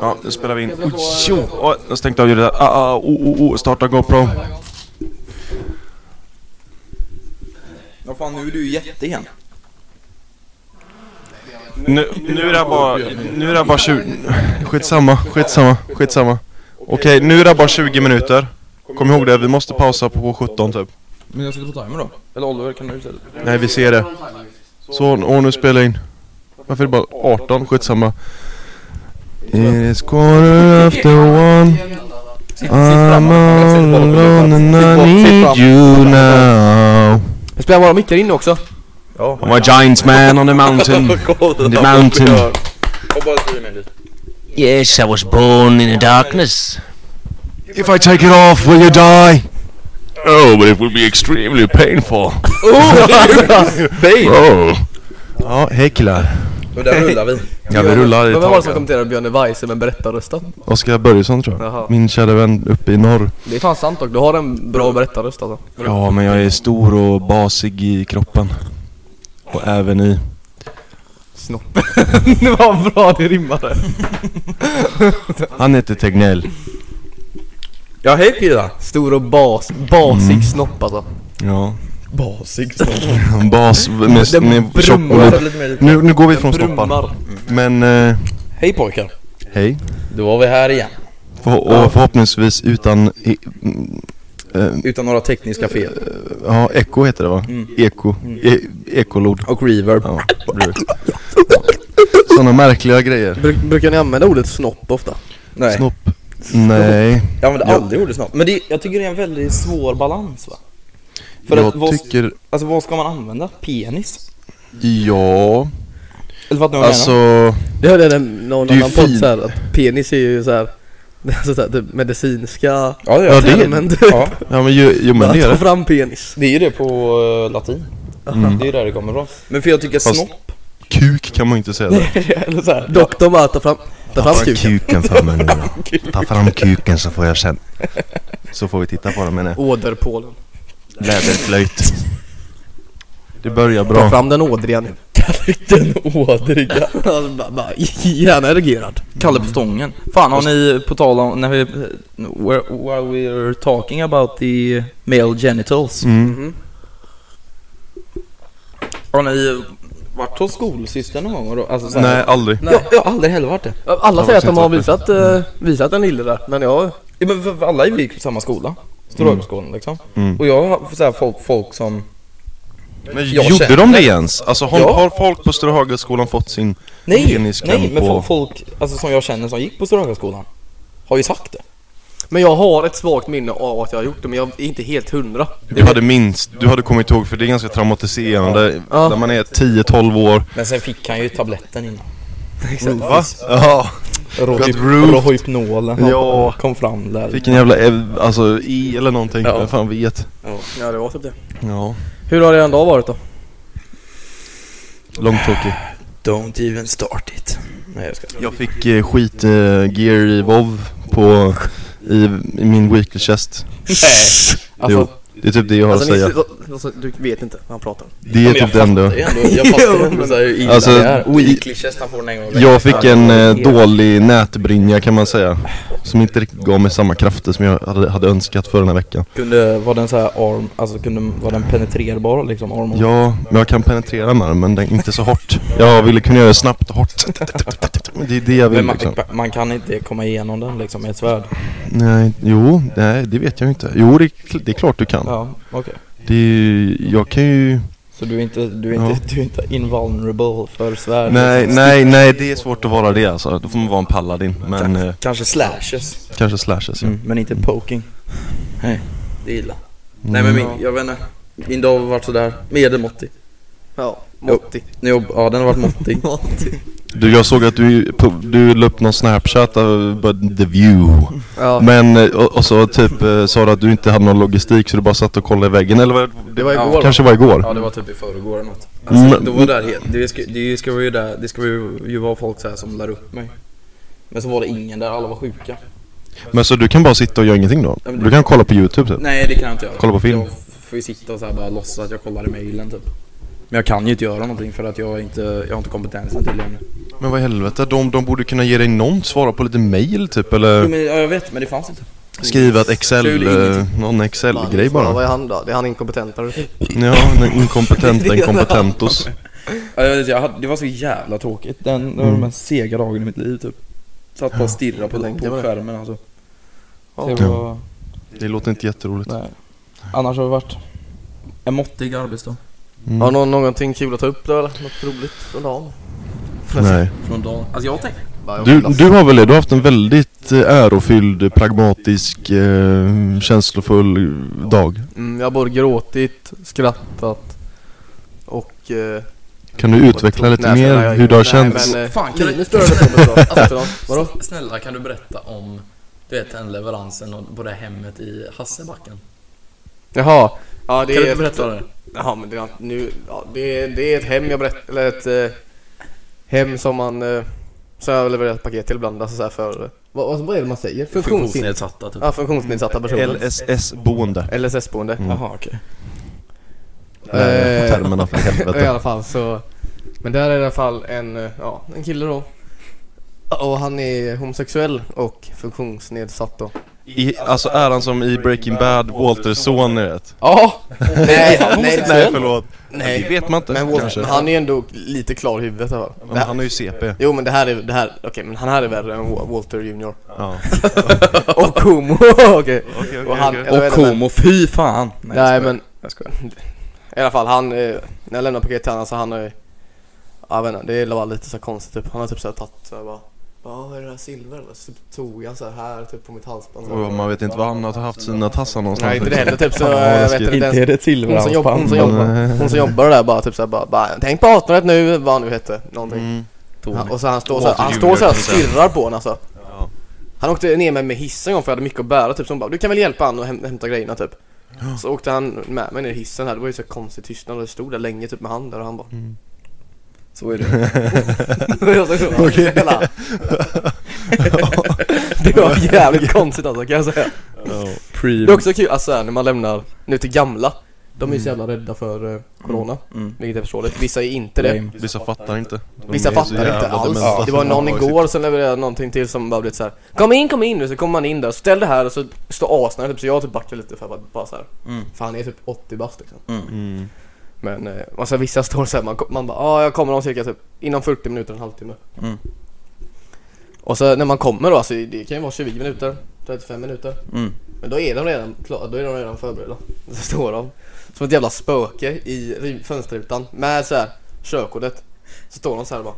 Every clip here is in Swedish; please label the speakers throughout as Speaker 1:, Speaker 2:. Speaker 1: Ja, nu spelar vi in. Jo, oh, jag stängde av ljudet. Ah, ah, oh, oh, oh, starta GoPro.
Speaker 2: Ja fan nu är du ju jätte igen.
Speaker 1: Nu, nu är det bara, nu är det bara 20... Skitsamma, skitsamma, skitsamma. Okej, nu är det bara 20 minuter. Kom ihåg det, vi måste pausa på 17 typ.
Speaker 2: Men jag sitter på timer då. Eller Oliver kan du istället.
Speaker 1: Nej, vi ser det. Så, och nu spelar jag in. Varför är det bara 18? Skitsamma. It is quarter after one. I'm alone and I need you now.
Speaker 3: Vi spelar våra mickar in också.
Speaker 1: I'm a giant man on the mountain. The mountain.
Speaker 4: Yes, I was born in the darkness.
Speaker 1: If I take it off, will you die?
Speaker 4: Oh, but it will be extremely painful. Oh.
Speaker 1: Ja, hej killar.
Speaker 2: Och där rullar vi.
Speaker 1: Ja, vi rullar i
Speaker 3: Vem var det som
Speaker 1: taket.
Speaker 3: kommenterade Björn Weise med berättarrösten?
Speaker 1: Oskar Börjesson tror
Speaker 3: Jaha.
Speaker 1: jag. Min kära vän uppe i norr.
Speaker 3: Det är fan sant dock, du har en bra berättarröst alltså.
Speaker 1: Ja, men jag är stor och basig i kroppen. Och även i...
Speaker 3: Snoppen. det var bra, det rimmade.
Speaker 1: Han heter Tegnell.
Speaker 2: Ja hej killar.
Speaker 3: Stor och bas, basig
Speaker 1: Mm.
Speaker 3: snopp alltså.
Speaker 1: Ja.
Speaker 2: Basig
Speaker 1: Bas med,
Speaker 3: Den
Speaker 1: med tjock och
Speaker 3: brummar.
Speaker 1: lite- nu, nu går vi från snoppar.
Speaker 3: Brummar.
Speaker 1: Men eh,
Speaker 2: Hej pojkar.
Speaker 1: hej.
Speaker 2: Då var vi här igen.
Speaker 1: För, och förhoppningsvis utan... i- mm, eh,
Speaker 2: Utan några tekniska fel.
Speaker 1: Ja, eko heter det va?
Speaker 2: Mm.
Speaker 1: Eko. E ekolod.
Speaker 2: Och reverb.
Speaker 1: Ja, Sådana märkliga grejer.
Speaker 3: Bru- brukar ni använda ordet snopp ofta?
Speaker 2: Nej.
Speaker 1: Snopp. Nej.
Speaker 2: Jag använder
Speaker 1: Ja.
Speaker 2: aldrig ordet snopp. Men det, jag tycker det är en väldigt svår balans va? För att
Speaker 1: Jag
Speaker 2: vad,
Speaker 1: tycker...
Speaker 2: alltså vad ska man använda? Penis?
Speaker 1: Ja.
Speaker 2: Eller vad nu
Speaker 1: Alltså...
Speaker 2: menar?
Speaker 3: Det hörde jag i någon
Speaker 1: Det är ju
Speaker 3: annan podd
Speaker 1: fin-
Speaker 3: såhär, att penis är ju såhär, det är såhär typ medicinska
Speaker 2: Ja det
Speaker 1: Ja,
Speaker 2: är
Speaker 1: det-
Speaker 2: det.
Speaker 3: termen typ.
Speaker 2: Ja,
Speaker 1: Ja men ju, jo men
Speaker 3: Att
Speaker 1: det är
Speaker 3: ta
Speaker 1: det.
Speaker 3: fram penis.
Speaker 2: det är ju det på eh, latin. Det är ju där det kommer ifrån. Men för jag tycker
Speaker 1: Mm. Fast-
Speaker 2: snopp,
Speaker 1: Kuk kan man ju inte säga det.
Speaker 2: eller såhär.
Speaker 3: Doktorn bara, ta fram, ta fram kuken.
Speaker 5: kuken för mig nu då. Ta fram kuken så får jag sen.
Speaker 1: Så får vi titta på det menar jag.
Speaker 3: Åderpålen.
Speaker 1: Läderflöjt. Det börjar
Speaker 3: Ta
Speaker 1: bra.
Speaker 3: fram den ådriga nu.
Speaker 2: Den ådriga.
Speaker 3: Alltså, bara- bara, Gärna erigerad.
Speaker 2: Kalle på stången. Fan har ni, på tal om, när vi, where, while we're talking about the male genitals.
Speaker 1: Mm.
Speaker 2: Har ni varit hos skolsystern någon gång? och då- Alltså, så här-
Speaker 1: Nej, aldrig.
Speaker 2: Jag, jag har aldrig heller varit det.
Speaker 3: Alla
Speaker 1: Ja,
Speaker 3: säger att
Speaker 1: precis,
Speaker 3: de har
Speaker 1: varför?
Speaker 3: visat, eh, visat en lille där, men jag...
Speaker 2: Ja, Men för, för alla gick på samma skola. Stora Högskolan liksom.
Speaker 1: Mm.
Speaker 2: Och jag har så här, folk, folk som,
Speaker 1: Men
Speaker 2: Jag
Speaker 1: gjorde
Speaker 2: känner-
Speaker 1: de det ens? Alltså har,
Speaker 2: Ja.
Speaker 1: har folk på Stora Högskolan fått sin
Speaker 2: nej,
Speaker 1: peniskläm
Speaker 2: nej men
Speaker 1: på...
Speaker 2: folk, folk alltså, som jag känner som gick på Stora Högskolan. Har ju sagt det.
Speaker 3: Men jag har ett svagt minne av att jag har gjort det, men jag är inte helt hundra.
Speaker 1: Du hade minst, du hade kommit ihåg för det är ganska traumatiserande
Speaker 3: Ja.
Speaker 1: när man är 10-12 år.
Speaker 2: Men sen fick han ju tabletten innan.
Speaker 1: Va? Ja. Got roofed.
Speaker 2: Rohypnolen han
Speaker 1: Ja.
Speaker 2: kom fram där.
Speaker 1: Fick en jävla, ev- alltså E eller någonting,
Speaker 2: Ja.
Speaker 1: vem fan vet.
Speaker 3: Ja, det var typ det.
Speaker 1: Ja.
Speaker 3: Hur har er dag varit då?
Speaker 1: Långtråkig.
Speaker 2: Don't even start it. Nej jag ska.
Speaker 1: Jag fick eh, skit eh, gear i WoW på, i, i min weekly chest.
Speaker 2: Alltså,
Speaker 1: jo, det är typ det jag har
Speaker 3: Alltså,
Speaker 1: att säga.
Speaker 3: ni, alltså, du vet inte vad han pratar om.
Speaker 1: Det är
Speaker 2: men
Speaker 1: typ det
Speaker 2: jag
Speaker 1: enda.
Speaker 2: fattar ju ändå, jag fattar ju ändå så här hur illa
Speaker 1: Alltså,
Speaker 2: det är.
Speaker 1: i-
Speaker 2: Weekly chest, han får den en gång i veckan. Alltså,
Speaker 1: Jag fick en eh, dålig nätbrynja kan man säga. Som inte riktigt gav mig samma krafter som jag hade, hade önskat för den här veckan.
Speaker 2: Kunde, var den så här arm, alltså kunde, var den penetrerbar liksom? Arm och-
Speaker 1: Ja, men jag kan penetrera med den men den, inte så hårt. Jag ville kunna göra det snabbt och hårt. Det är det jag
Speaker 2: Men
Speaker 1: vill
Speaker 2: man,
Speaker 1: liksom.
Speaker 2: man kan inte komma igenom den liksom med ett svärd.
Speaker 1: Nej, jo, nej det vet jag inte. Jo, det, är kl- det är klart du kan.
Speaker 2: Ja, okej.
Speaker 1: Det är, ju- jag kan ju...
Speaker 2: Så du är inte, du är inte, du är inte invulnerable för svärd?
Speaker 1: Nej,
Speaker 2: liksom.
Speaker 1: nej, nej det är svårt att vara det alltså. Då får man vara en paladin. Men eh,
Speaker 2: Kanske slashes,
Speaker 1: kanske slashes ja.
Speaker 2: mm. men inte poking. Nej, det är illa.
Speaker 1: Mm.
Speaker 2: Nej men min, jag vet inte. Min dag har varit sådär, medelmåttig.
Speaker 3: Ja, Motti.
Speaker 2: När jag- Ja, den har varit måttig.
Speaker 1: Du, jag såg att du, på- du la upp någon snapchat av but the view.
Speaker 3: Ja.
Speaker 1: Men, eh, och, och så typ eh, sa du att du inte hade någon logistik så du bara satt och kollade i väggen eller var det?
Speaker 2: Det var
Speaker 1: det kanske var igår?
Speaker 2: Ja det var typ i förrgår eller något alltså,
Speaker 1: Mm.
Speaker 2: då var det, där, helt- det, ska, det ska ju där, det ska ju, ju vara folk så här som lär upp mig Men så var det ingen där, alla var sjuka
Speaker 1: Men så du kan bara sitta och göra ingenting då?
Speaker 2: men det-
Speaker 1: Du kan kolla på youtube typ?
Speaker 2: Nej det kan jag inte göra
Speaker 1: Kolla på film.
Speaker 2: Jag f- får ju sitta och så här bara låtsas att jag kollar i mailen typ Men jag kan ju inte göra någonting för att jag inte, jag har inte kompetensen till det ännu.
Speaker 1: Men vad i helvete, de, de borde kunna ge dig någon svara på lite mail typ
Speaker 2: Jo,
Speaker 1: eller
Speaker 2: men, ja, jag vet, men det fanns inte.
Speaker 1: skriva ett
Speaker 2: Kul,
Speaker 1: excel,
Speaker 2: ingenting.
Speaker 1: eh, någon excel-grej bara.
Speaker 3: Vad är han då? Det är han inkompetentare.
Speaker 1: Ja, en inkompetent, en kompetentos.
Speaker 2: Ja, jag vet, jag hade, det var så jävla tråkigt. Den, det var den mest sega dagen i mitt liv typ. Satt bara och stirrade på,
Speaker 3: Jag tänkte
Speaker 2: på
Speaker 3: på det.
Speaker 2: skärmen alltså.
Speaker 3: Ja.
Speaker 2: Så det var,
Speaker 1: Det låter inte jätteroligt.
Speaker 2: nej. Annars har det varit en måttig arbetsdag.
Speaker 1: Mm.
Speaker 3: Har någon någonting kul att ta upp då eller? Något roligt från dagen?
Speaker 1: Nej.
Speaker 2: Från dagen. Alltså jag tänkte...
Speaker 3: Bara, jag
Speaker 1: Du,
Speaker 3: hoppas.
Speaker 1: du har väl det? Du har haft en väldigt eh, ärofylld, pragmatisk, eh, känslofull dag.
Speaker 3: Mm, jag har både gråtit, skrattat och... Eh,
Speaker 1: Kan du utveckla lite
Speaker 2: alltså,
Speaker 3: Nej,
Speaker 1: mer
Speaker 3: jag-
Speaker 1: hur det har
Speaker 3: nej,
Speaker 1: känts?
Speaker 3: Men, eh,
Speaker 6: Fan, kan
Speaker 3: Linus
Speaker 6: du-
Speaker 3: rörde på mig bra. Alltså, då, vadå?
Speaker 6: Snälla kan du berätta om du vet den leveransen och- på det hemmet i Hassebacken?
Speaker 3: Jaha. Ja, det
Speaker 6: kan du
Speaker 3: är
Speaker 6: inte berätta det?
Speaker 3: Ja men det är, nu, ja, det, är, det är ett hem jag berättar, eller ett eh, hem som man, eh, som jag levererar ett paket till ibland, alltså så här för, eh, vad, vad är det man säger? Funktionsnedsatta?
Speaker 6: Funktionsnedsatta typ.
Speaker 3: Ja, funktionsnedsatta personer. Mm.
Speaker 1: LSS-boende.
Speaker 3: LSS-boende.
Speaker 2: Jaha okej.
Speaker 3: Eh,
Speaker 1: Termerna för
Speaker 3: I
Speaker 1: helvete.
Speaker 3: alla fall så, men där är i alla fall en, eh, ja, en kille då. Och han är homosexuell och funktionsnedsatt då.
Speaker 1: I, alltså är han som i Breaking Bad, Walters son ni vet?
Speaker 3: Ja! nej, nej,
Speaker 1: Nej
Speaker 3: nej,
Speaker 1: förlåt.
Speaker 3: nej.
Speaker 1: Det vet man inte
Speaker 3: Men, Walter,
Speaker 1: kanske.
Speaker 3: men han är ju ändå lite klar i huvudet i alla fall.
Speaker 1: Men han är ju CP.
Speaker 3: Jo men det här är, det här, okej men han här är värre än Wa- Walter Junior.
Speaker 1: Ja.
Speaker 3: Och homo, okej.
Speaker 1: okej,
Speaker 3: och han,
Speaker 1: okej.
Speaker 3: jag vet
Speaker 2: Och
Speaker 3: inte.
Speaker 2: homo, fy fan! Nej,
Speaker 3: Nej
Speaker 2: jag skojar.
Speaker 3: men, jag skojar. I alla fall han, eh, när jag lämnade paketet till honom så han har ju, jag vet inte, det var lite så här konstigt typ. Han har typ såhär tagit såhär bara, ja vad är det här silver eller? Så typ tog han såhär här typ på mitt halsband.
Speaker 1: Och man vet inte var han har haft sina tassar någonstans.
Speaker 3: Nej inte det heller typ så,
Speaker 1: Fan, vad
Speaker 3: jag vet
Speaker 1: läskigt.
Speaker 3: inte
Speaker 2: Inte
Speaker 3: den
Speaker 2: är det till
Speaker 3: hon som, jobb, hon, som jobbar, hon som jobbar där bara typ såhär bara, bara tänk på 18 nu, vad han nu hette, någonting.
Speaker 1: Mm.
Speaker 3: Ja, och så han står så
Speaker 1: Walter
Speaker 3: han
Speaker 1: Jr.
Speaker 3: står så och
Speaker 1: kan jag säga.
Speaker 3: stirrar på en alltså.
Speaker 1: Ja.
Speaker 3: Han åkte ner mig med hissen en gång för jag hade mycket att bära typ, så hon bara 'Du kan väl hjälpa han och häm- hämta grejerna' typ Så åkte han med mig ner i hissen här, det var ju så konstig tystnad och jag stod där länge typ med han där och han bara
Speaker 2: Så är det.
Speaker 3: Okej Det var jävligt konstigt alltså kan jag säga Det är
Speaker 2: Pre...
Speaker 3: också kul, alltså här, när man lämnar nu till gamla De är ju så jävla rädda för eh, Corona,
Speaker 2: Mm.
Speaker 3: vilket är förståeligt Vissa är inte det
Speaker 2: Lame.
Speaker 1: Vissa fattar inte. De
Speaker 3: Vissa
Speaker 1: är så
Speaker 3: fattar
Speaker 1: jävla
Speaker 3: inte alls.
Speaker 1: dementa.
Speaker 3: Det var någon
Speaker 1: Ja,
Speaker 3: igår som levererade någonting till som bara blev så här. Kom in, kom in! Och så kommer man in där, ställ det här och så står asnära typ så jag typ backar lite för att bara- bara så här.
Speaker 2: Mm.
Speaker 3: För han är typ 80 bast liksom.
Speaker 1: Mm.
Speaker 3: Men eh, alltså, vissa står så här, man, kom- man bara ah, jag kommer om cirka typ inom 40 minuter, en halvtimme.
Speaker 2: Mm.
Speaker 3: Och så när man kommer då, alltså det kan ju vara 20 minuter, 35 minuter.
Speaker 2: Mm.
Speaker 3: Men då är de redan klara, då är de redan förberedda. Så står de som ett jävla spöke i ri- fönsterrutan med så här körkortet. Så står de så här bara.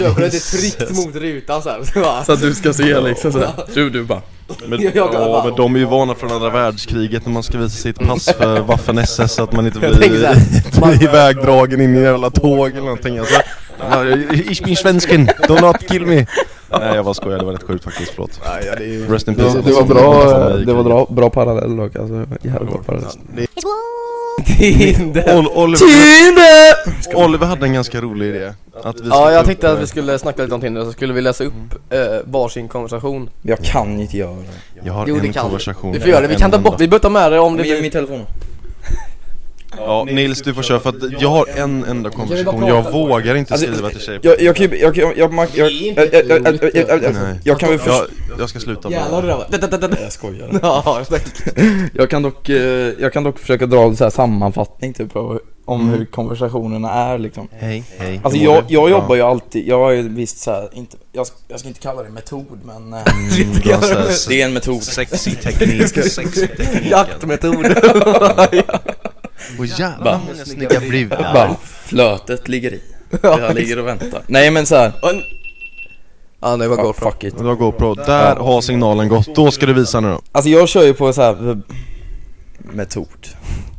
Speaker 3: Körkortet är tryckt mot rutan så här. Så bara,
Speaker 2: Så att du ska se liksom sådär. Du, du bara.
Speaker 1: Men,
Speaker 3: Jag- jag-
Speaker 1: ja, men de är ju vana från andra världskriget när man ska visa sitt pass för Waffen-SS så att man inte blir
Speaker 3: tänker så här, man-
Speaker 1: blir ivägdragen in i jävla tåg eller någonting alltså. Ja, Ich bin svensken, do not kill me! Nej jag bara skojar, det var rätt sjukt faktiskt, förlåt. Rest in peace.
Speaker 3: eh,
Speaker 2: bra, bra parallell dock alltså. Jävligt bra parallell.
Speaker 3: Tinder!
Speaker 1: Ol- Oliver,
Speaker 2: Tinder!
Speaker 1: Oliver hade en ganska rolig idé. Att vi
Speaker 3: Ja
Speaker 1: skulle
Speaker 3: jag
Speaker 1: ta
Speaker 3: tänkte
Speaker 1: upp,
Speaker 3: att vi skulle snacka lite om Tinder så skulle vi läsa upp eh, varsin konversation
Speaker 2: Jag kan inte göra det.
Speaker 1: eh, Jag har
Speaker 3: Jo, det
Speaker 1: en
Speaker 3: kan vi.
Speaker 1: konversation.
Speaker 3: Vi får göra det, vi kan ta
Speaker 1: En
Speaker 3: bort, vi behöver ta med det om det blir...
Speaker 2: Min, min telefon.
Speaker 1: Ja, Nils du får köra för att jag har en enda konversation, jag vågar inte
Speaker 2: Alltså,
Speaker 1: skriva till tjejer
Speaker 2: Jag, jag kan ju, jag, jag, jag, jag, jag, jag, jag, jag, jag, jag, jag,
Speaker 1: Nej.
Speaker 2: jag kan väl förstå.
Speaker 1: jag, jag ska sluta
Speaker 3: Jävlar det
Speaker 1: med
Speaker 3: där var... da, da, da, da.
Speaker 2: Jag skojar.
Speaker 3: Ja, tack.
Speaker 2: Jag kan dock, eh, jag kan dock försöka dra så här sammanfattning typ av, om hur konversationerna är liksom.
Speaker 1: Hej, hej
Speaker 2: Alltså jag, jag jobbar ju alltid, jag har ju visst så här, inte, jag, ska- jag ska inte kalla det metod men... eh, det är en metod.
Speaker 1: Sexy teknik, sexy teknik
Speaker 3: Jaktmetod.
Speaker 1: Och jävlar hur många snygga brudar
Speaker 2: Bara, flötet ligger i. Jag ligger och väntar. Nej men så här.
Speaker 3: Ja nej vad
Speaker 2: Ja,
Speaker 3: går från.
Speaker 2: fuck it.
Speaker 1: Det var GoPro, där har signalen gått, då ska du visa nu då
Speaker 2: Alltså jag kör ju på så här eh, metod.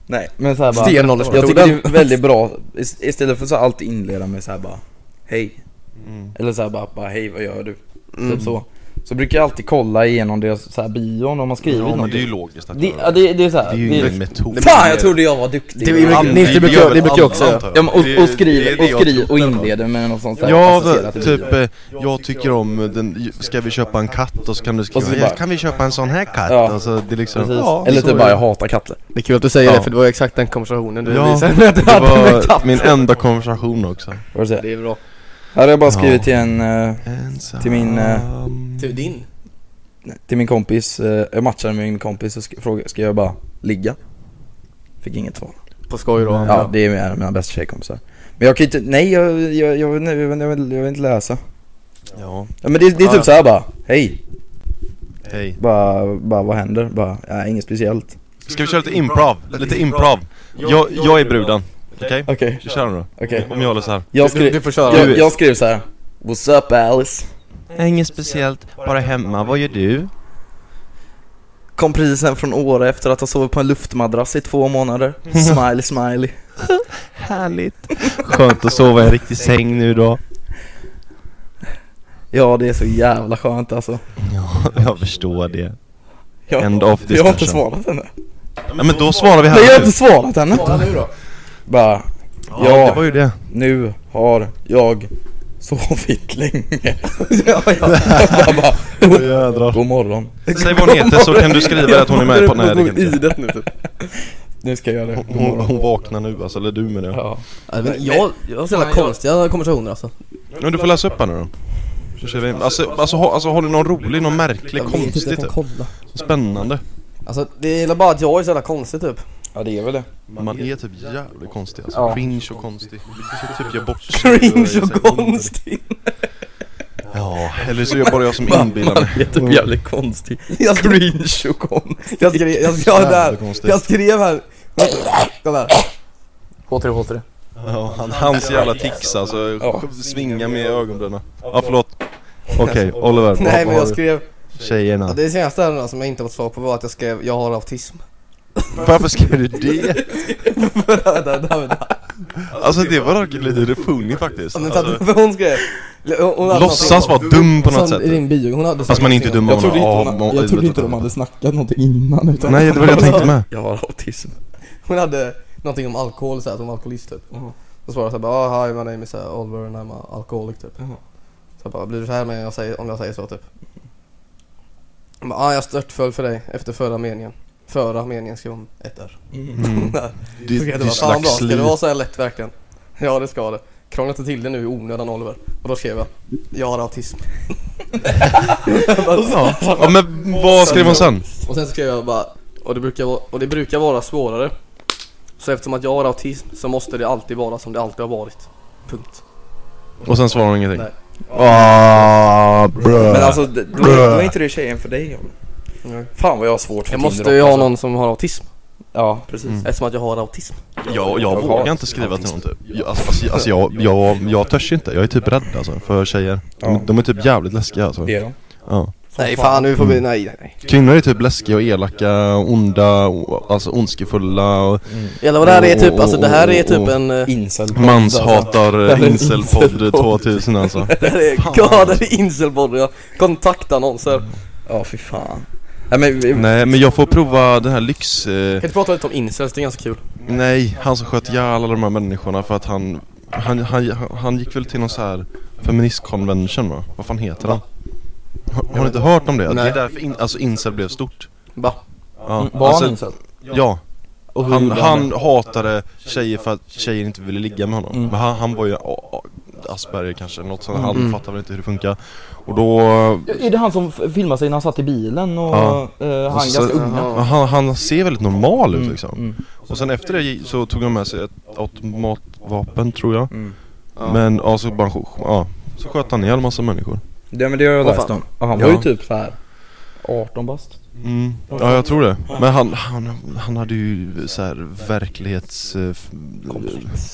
Speaker 2: Nej men så här bara. Jag tycker det
Speaker 3: Stenåldersmetoden.
Speaker 2: är väldigt bra, ist- istället för att alltid inleda med så här bara Hej Eller så här bara, bara hej vad gör du? Typ så Så brukar jag alltid kolla igenom deras så här bio om de har skrivit
Speaker 1: Ja, men
Speaker 2: något.
Speaker 1: det är ju logiskt att
Speaker 2: Det,
Speaker 1: göra
Speaker 2: ja, det, det är så här.
Speaker 5: Det är ju ingen metod.
Speaker 2: Fan jag trodde jag var duktig!
Speaker 3: Det brukar-
Speaker 1: Använd-
Speaker 3: Nils, det brukar-
Speaker 1: gör väl
Speaker 3: det brukar jag
Speaker 1: alla,
Speaker 3: också göra.
Speaker 1: antar jag.
Speaker 2: Ja, men och,
Speaker 1: Det-
Speaker 2: och
Speaker 1: det är
Speaker 2: skriver
Speaker 1: det
Speaker 2: och,
Speaker 1: jag
Speaker 2: skri,
Speaker 1: tror
Speaker 2: och
Speaker 1: den har.
Speaker 2: inleder med något sånt där
Speaker 1: Ja,
Speaker 2: placerat i
Speaker 1: typ,
Speaker 2: bio.
Speaker 1: eh, jag tycker om den, ska vi köpa en katt? Och så kan du
Speaker 2: Och så
Speaker 1: skriva,
Speaker 2: bara-
Speaker 1: "Ja, kan vi köpa en sån här katt?
Speaker 2: Ja.
Speaker 1: Alltså det är liksom,
Speaker 2: Precis.
Speaker 1: ja,
Speaker 2: Eller
Speaker 1: så
Speaker 2: typ
Speaker 1: är
Speaker 2: bara
Speaker 1: det.
Speaker 2: jag hatar katter.
Speaker 3: Det är kul att du säger
Speaker 1: Ja.
Speaker 3: det för det var ju exakt den konversationen du
Speaker 1: Ja,
Speaker 3: visade att du
Speaker 1: det
Speaker 3: hade med
Speaker 1: var
Speaker 3: katten.
Speaker 1: min enda konversation också
Speaker 2: Vad du säger.
Speaker 3: Det är bra.
Speaker 2: Här har jag bara
Speaker 1: Ja.
Speaker 2: skrivit till en, eh,
Speaker 1: Ensam.
Speaker 2: Till min, eh,
Speaker 3: Till din?
Speaker 2: till min kompis, eh, jag matchade med min kompis och sk- frågade, ska jag bara ligga? Fick inget svar.
Speaker 3: På skoj då.
Speaker 2: Ja, det är mina, mina bästa tjejkompisar. Men jag kan ju inte, nej jag, jag, jag, vill- jag, vill- jag, vill- jag vill inte läsa.
Speaker 1: Ja,
Speaker 2: Ja, men det, det är
Speaker 1: Ja,
Speaker 2: typ
Speaker 1: ja.
Speaker 2: såhär bara, hej,
Speaker 1: hej
Speaker 2: bara, bara vad händer? Bara, ja, inget speciellt.
Speaker 1: Ska vi köra lite improv? Lite improv Jag, jag är bruden, okej?
Speaker 2: Okej,
Speaker 1: Vi kör nu då,
Speaker 2: okej.
Speaker 1: om jag håller så här.
Speaker 2: Jag
Speaker 3: du, du
Speaker 2: skrev,
Speaker 3: får köra.
Speaker 2: jag, jag skrev såhär, what's up Alice?
Speaker 1: Inget speciellt, bara hemma, vad gör du?
Speaker 2: Kom precis hem från Åre efter att ha sovit på en luftmadrass i två månader. Smiley smiley.
Speaker 1: Härligt Skönt att sova i en riktig säng nu då
Speaker 2: Ja, det är så jävla skönt alltså.
Speaker 1: Ja, jag förstår det
Speaker 2: Jag,
Speaker 1: End of
Speaker 2: jag har inte
Speaker 1: discussion.
Speaker 2: svarat henne.
Speaker 1: ja, Men då svarar vi här
Speaker 2: Nej, jag har
Speaker 1: nu.
Speaker 2: inte svarat henne.
Speaker 3: Svara nu då.
Speaker 2: Bara,
Speaker 1: Ja, det var
Speaker 2: ja,
Speaker 1: ju det
Speaker 2: nu har jag sovit länge. ja, ja. Bara, bara, god,
Speaker 1: Jädrar
Speaker 2: god morgon.
Speaker 1: Säg vad hon heter så kan du skriva att hon är med på den här
Speaker 2: Jag
Speaker 1: det
Speaker 2: går
Speaker 1: kan jag
Speaker 2: i
Speaker 1: inte.
Speaker 2: det nu typ. Nu ska jag göra det. God
Speaker 1: hon,
Speaker 2: morgon.
Speaker 1: hon vaknar nu alltså, eller du menar jag
Speaker 2: Ja.
Speaker 3: Ja, men Jag, jag har sådana
Speaker 6: Fan, jag-
Speaker 3: konstiga konversationer alltså.
Speaker 1: Men du får läsa upp henne då så kör vi in. Alltså, alltså, har, alltså har du någon rolig, någon märklig,
Speaker 3: Jag vet inte, typ
Speaker 2: typ
Speaker 3: jag
Speaker 1: konstig, typ
Speaker 3: får kolla.
Speaker 1: spännande?
Speaker 3: Alltså det är bara att jag är så jävla konstig typ.
Speaker 2: ja, det är väl det.
Speaker 1: Man är typ jävligt konstig alltså,
Speaker 2: Ja.
Speaker 1: cringe och konstig Så typ jag bort
Speaker 2: Cringe och konstig.
Speaker 1: Ja, eller så är det Mm. bara jag som inbillar mig
Speaker 2: Det är typ jävligt konstig.
Speaker 3: Jag skrev,
Speaker 2: Cringe och konstig.
Speaker 3: jag skrev, jag skrev, Alltså, jag,
Speaker 1: Jävla
Speaker 3: där.
Speaker 1: konstigt.
Speaker 3: jag skrev här. Kolla här.
Speaker 2: H3, H3.
Speaker 1: ja, han, Hans jävla tics alltså,
Speaker 2: Ja.
Speaker 1: svinga med ögonbrynen Ja förlåt Okej, Oliver, vad
Speaker 3: Nej men jag
Speaker 1: har du?
Speaker 3: skrev, ja,
Speaker 1: Tjejerna
Speaker 3: det senaste här som jag inte har fått svar på var att jag skrev jag har autism.
Speaker 1: Varför skrev du det?
Speaker 3: Vänta, vänta, vänta.
Speaker 1: Alltså det var dock lite funny faktiskt
Speaker 3: Men för
Speaker 1: alltså,
Speaker 3: att- för Hon skrev, hon, hon hade
Speaker 1: Låtsas vara dum på något
Speaker 3: Som i
Speaker 1: sätt
Speaker 3: din bio, hon hade
Speaker 1: Fast man är inte dum om
Speaker 2: Jag trodde inte,
Speaker 1: har-
Speaker 2: de, jag trodde inte de hade snackat någonting innan utan
Speaker 1: Nej det var det jag tänkte med
Speaker 2: Jag har autism.
Speaker 3: Hon hade någonting om alkohol såhär, att hon var alkoholist typ.
Speaker 1: Mm.
Speaker 2: Mhm.
Speaker 3: Och svarade såhär bara oh, hi my name is uh, Oliver and I'm a alcoholic typ.
Speaker 1: Mm.
Speaker 2: Mhm.
Speaker 3: Så jag bara blir du såhär med om jag säger, om jag säger så typ? Hon bara ah, jag störtföll för dig efter förra meningen. Förra meningen skrev hon ett R.
Speaker 1: Mm.
Speaker 3: Där.
Speaker 1: Det,
Speaker 3: Så skrev
Speaker 1: det
Speaker 3: jag
Speaker 1: är
Speaker 3: bara, Fan bra, ska
Speaker 1: slagsliv
Speaker 3: det vara såhär lätt verkligen? Ja det ska det. Krångla inte till det nu i onödan Oliver. Och då skrev jag, jag har autism.
Speaker 1: Ja. ja men vad skrev hon sen?
Speaker 3: Och sen skrev jag bara, och det, brukar, vara- och det brukar vara svårare. Så eftersom att jag har autism så måste det alltid vara som det alltid har varit. Punkt.
Speaker 1: Och sen svarade hon ingenting?
Speaker 3: Nej.
Speaker 1: Ah, bruh.
Speaker 2: Men alltså, d- då, då är inte det tjejen för dig John.
Speaker 3: Mm.
Speaker 2: Fan vad jag har svårt för
Speaker 3: Jag
Speaker 2: Tinder
Speaker 3: måste ju ha
Speaker 2: också.
Speaker 3: någon som har autism.
Speaker 2: Ja, precis.
Speaker 1: Mm.
Speaker 3: Eftersom att jag har autism.
Speaker 1: jag, jag
Speaker 2: Jag
Speaker 1: vågar
Speaker 2: har
Speaker 1: inte skriva till någon typ jag, alltså, alltså, alltså, jag, jag, jag törs inte, jag är typ rädd alltså för tjejer De,
Speaker 2: Ja.
Speaker 1: de är typ jävligt läskiga alltså
Speaker 2: Det är de.
Speaker 1: ja.
Speaker 3: Nej fan nu får vi, nej nej nej.
Speaker 1: Kvinnor är typ läskiga och elaka, onda, o- alltså ondskefulla och
Speaker 3: Eller vad det här är typ,
Speaker 1: Och-
Speaker 3: alltså det här är
Speaker 1: och- och-
Speaker 3: typ en... eh,
Speaker 2: Incel.
Speaker 1: manshatar
Speaker 2: är en
Speaker 1: incelpodd
Speaker 2: incelpodd.
Speaker 1: 2000 alltså
Speaker 3: Det här är, god det är incelporr, jag kontaktannonser. Kan
Speaker 2: Ja, fy fan. Nej men, vi-
Speaker 1: Nej men jag får prova den här lyx... Eh,
Speaker 3: du inte prata lite om incels, det är ganska kul.
Speaker 1: nej, han som sköt ihjäl alla de här människorna för att han Han, han, han gick väl till någon så här feministkonvention va? Vad fan heter han? Har, har ni inte hört om det?
Speaker 3: Nej.
Speaker 1: Det är därför in, alltså incel blev stort
Speaker 3: Va?
Speaker 1: ja.
Speaker 2: var han
Speaker 1: alltså,
Speaker 2: Mm, incel?
Speaker 1: Ja
Speaker 2: Och hur
Speaker 1: Han,
Speaker 2: gjorde han
Speaker 1: han hatade tjejer för att tjejer inte ville ligga med honom.
Speaker 2: Mm.
Speaker 1: Men han, han var ju a- a- Asperger kanske, något sånt. Han
Speaker 3: Mm.
Speaker 1: fattade väl inte hur det funkar. Och då...
Speaker 2: det? Är det han som f- filmade sig när han satt i bilen och
Speaker 1: Ja. Alltså,
Speaker 2: eh, han
Speaker 1: så-
Speaker 2: ganska unga?
Speaker 1: men Han, han ser väldigt normal ut
Speaker 2: Mm,
Speaker 1: liksom.
Speaker 2: mm,
Speaker 1: Och sen efter det så tog han med sig ett automatvapen tror jag.
Speaker 2: mm.
Speaker 1: Men ja, så bara... Ja. Så sköt han ihjäl massa människor.
Speaker 2: Det, men det har jag
Speaker 3: Vad
Speaker 2: läst
Speaker 3: fan?
Speaker 2: om. Och han
Speaker 1: Ja.
Speaker 2: var ju typ så här 18 bast.
Speaker 1: Mm. Ja, jag tror det. Men han, han, han hade ju så här verklighets... eh, f-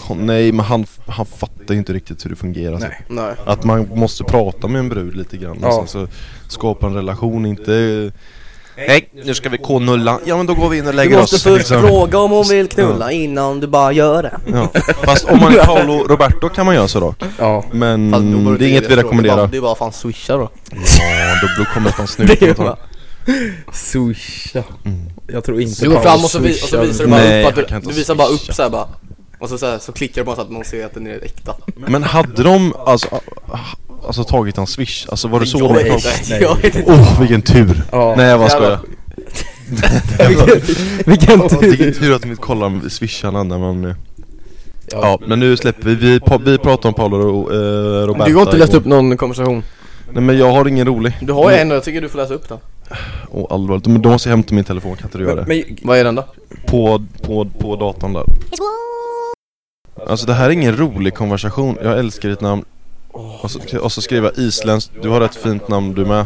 Speaker 1: Kon, nej, men han, han fattade ju inte riktigt hur det fungerar.
Speaker 2: Nej.
Speaker 3: Nej.
Speaker 1: Att man måste prata med en brud lite grann
Speaker 2: Ja.
Speaker 1: och sen så skapa en relation, inte Nej, nu ska vi knulla. Ja men då går vi in och
Speaker 3: Du
Speaker 1: lägger
Speaker 3: måste
Speaker 1: oss.
Speaker 3: först
Speaker 1: liksom. Mm,
Speaker 3: fråga om hon vill knulla innan du bara gör det.
Speaker 1: Ja. Fast om man är Paolo Roberto kan man göra så då.
Speaker 2: Ja.
Speaker 1: Men
Speaker 3: Fast då borde
Speaker 1: det är inget vi
Speaker 3: fråga. Det är
Speaker 1: rekommenderar.
Speaker 3: bara- Det är bara fan swisha då.
Speaker 1: Ja, då kommer det en snut.
Speaker 2: Det är bara- Swisha.
Speaker 1: Mm.
Speaker 2: Jag tror inte
Speaker 3: Du går
Speaker 2: Paolo
Speaker 3: fram och så, vi, och så
Speaker 2: swishar.
Speaker 3: visar du bara
Speaker 1: Nej,
Speaker 3: upp
Speaker 1: jag
Speaker 3: att
Speaker 1: kan
Speaker 3: du,
Speaker 1: inte
Speaker 3: du visar bara upp
Speaker 1: swisha.
Speaker 3: såhär bara Och så, så, här, så klickar du bara så att man ser att den är äkta
Speaker 1: Men hade de alltså, ah, alltså tagit hans swish? Alltså var det så?
Speaker 3: Jag
Speaker 1: de-
Speaker 3: vet inte, jag vet inte
Speaker 1: Åh oh, vilken tur!
Speaker 2: Ja.
Speaker 1: Nej jag bara
Speaker 3: Jävlar.
Speaker 1: skojar.
Speaker 2: Vilken
Speaker 1: Vilken
Speaker 2: tur.
Speaker 1: tur att de inte kollar swisharna när man... eh,
Speaker 2: Ja.
Speaker 1: Ja, men nu släpper vi. Vi, pa- vi pratar om Paolo och eh, Roberta.
Speaker 3: Du har inte läst
Speaker 1: igår.
Speaker 3: upp någon konversation
Speaker 1: Nej men jag har ingen rolig.
Speaker 3: Du har ju en och jag tycker du får läsa upp den
Speaker 1: Åh allvarligt, men då måste jag hämta min telefon, kan inte du göra det?
Speaker 2: Men,
Speaker 3: Vad är den då?
Speaker 1: På, på, på datorn där. Alltså det här är ingen rolig konversation, jag älskar ditt namn. Och så, och så skrev jag isländskt, du har ett fint namn du med.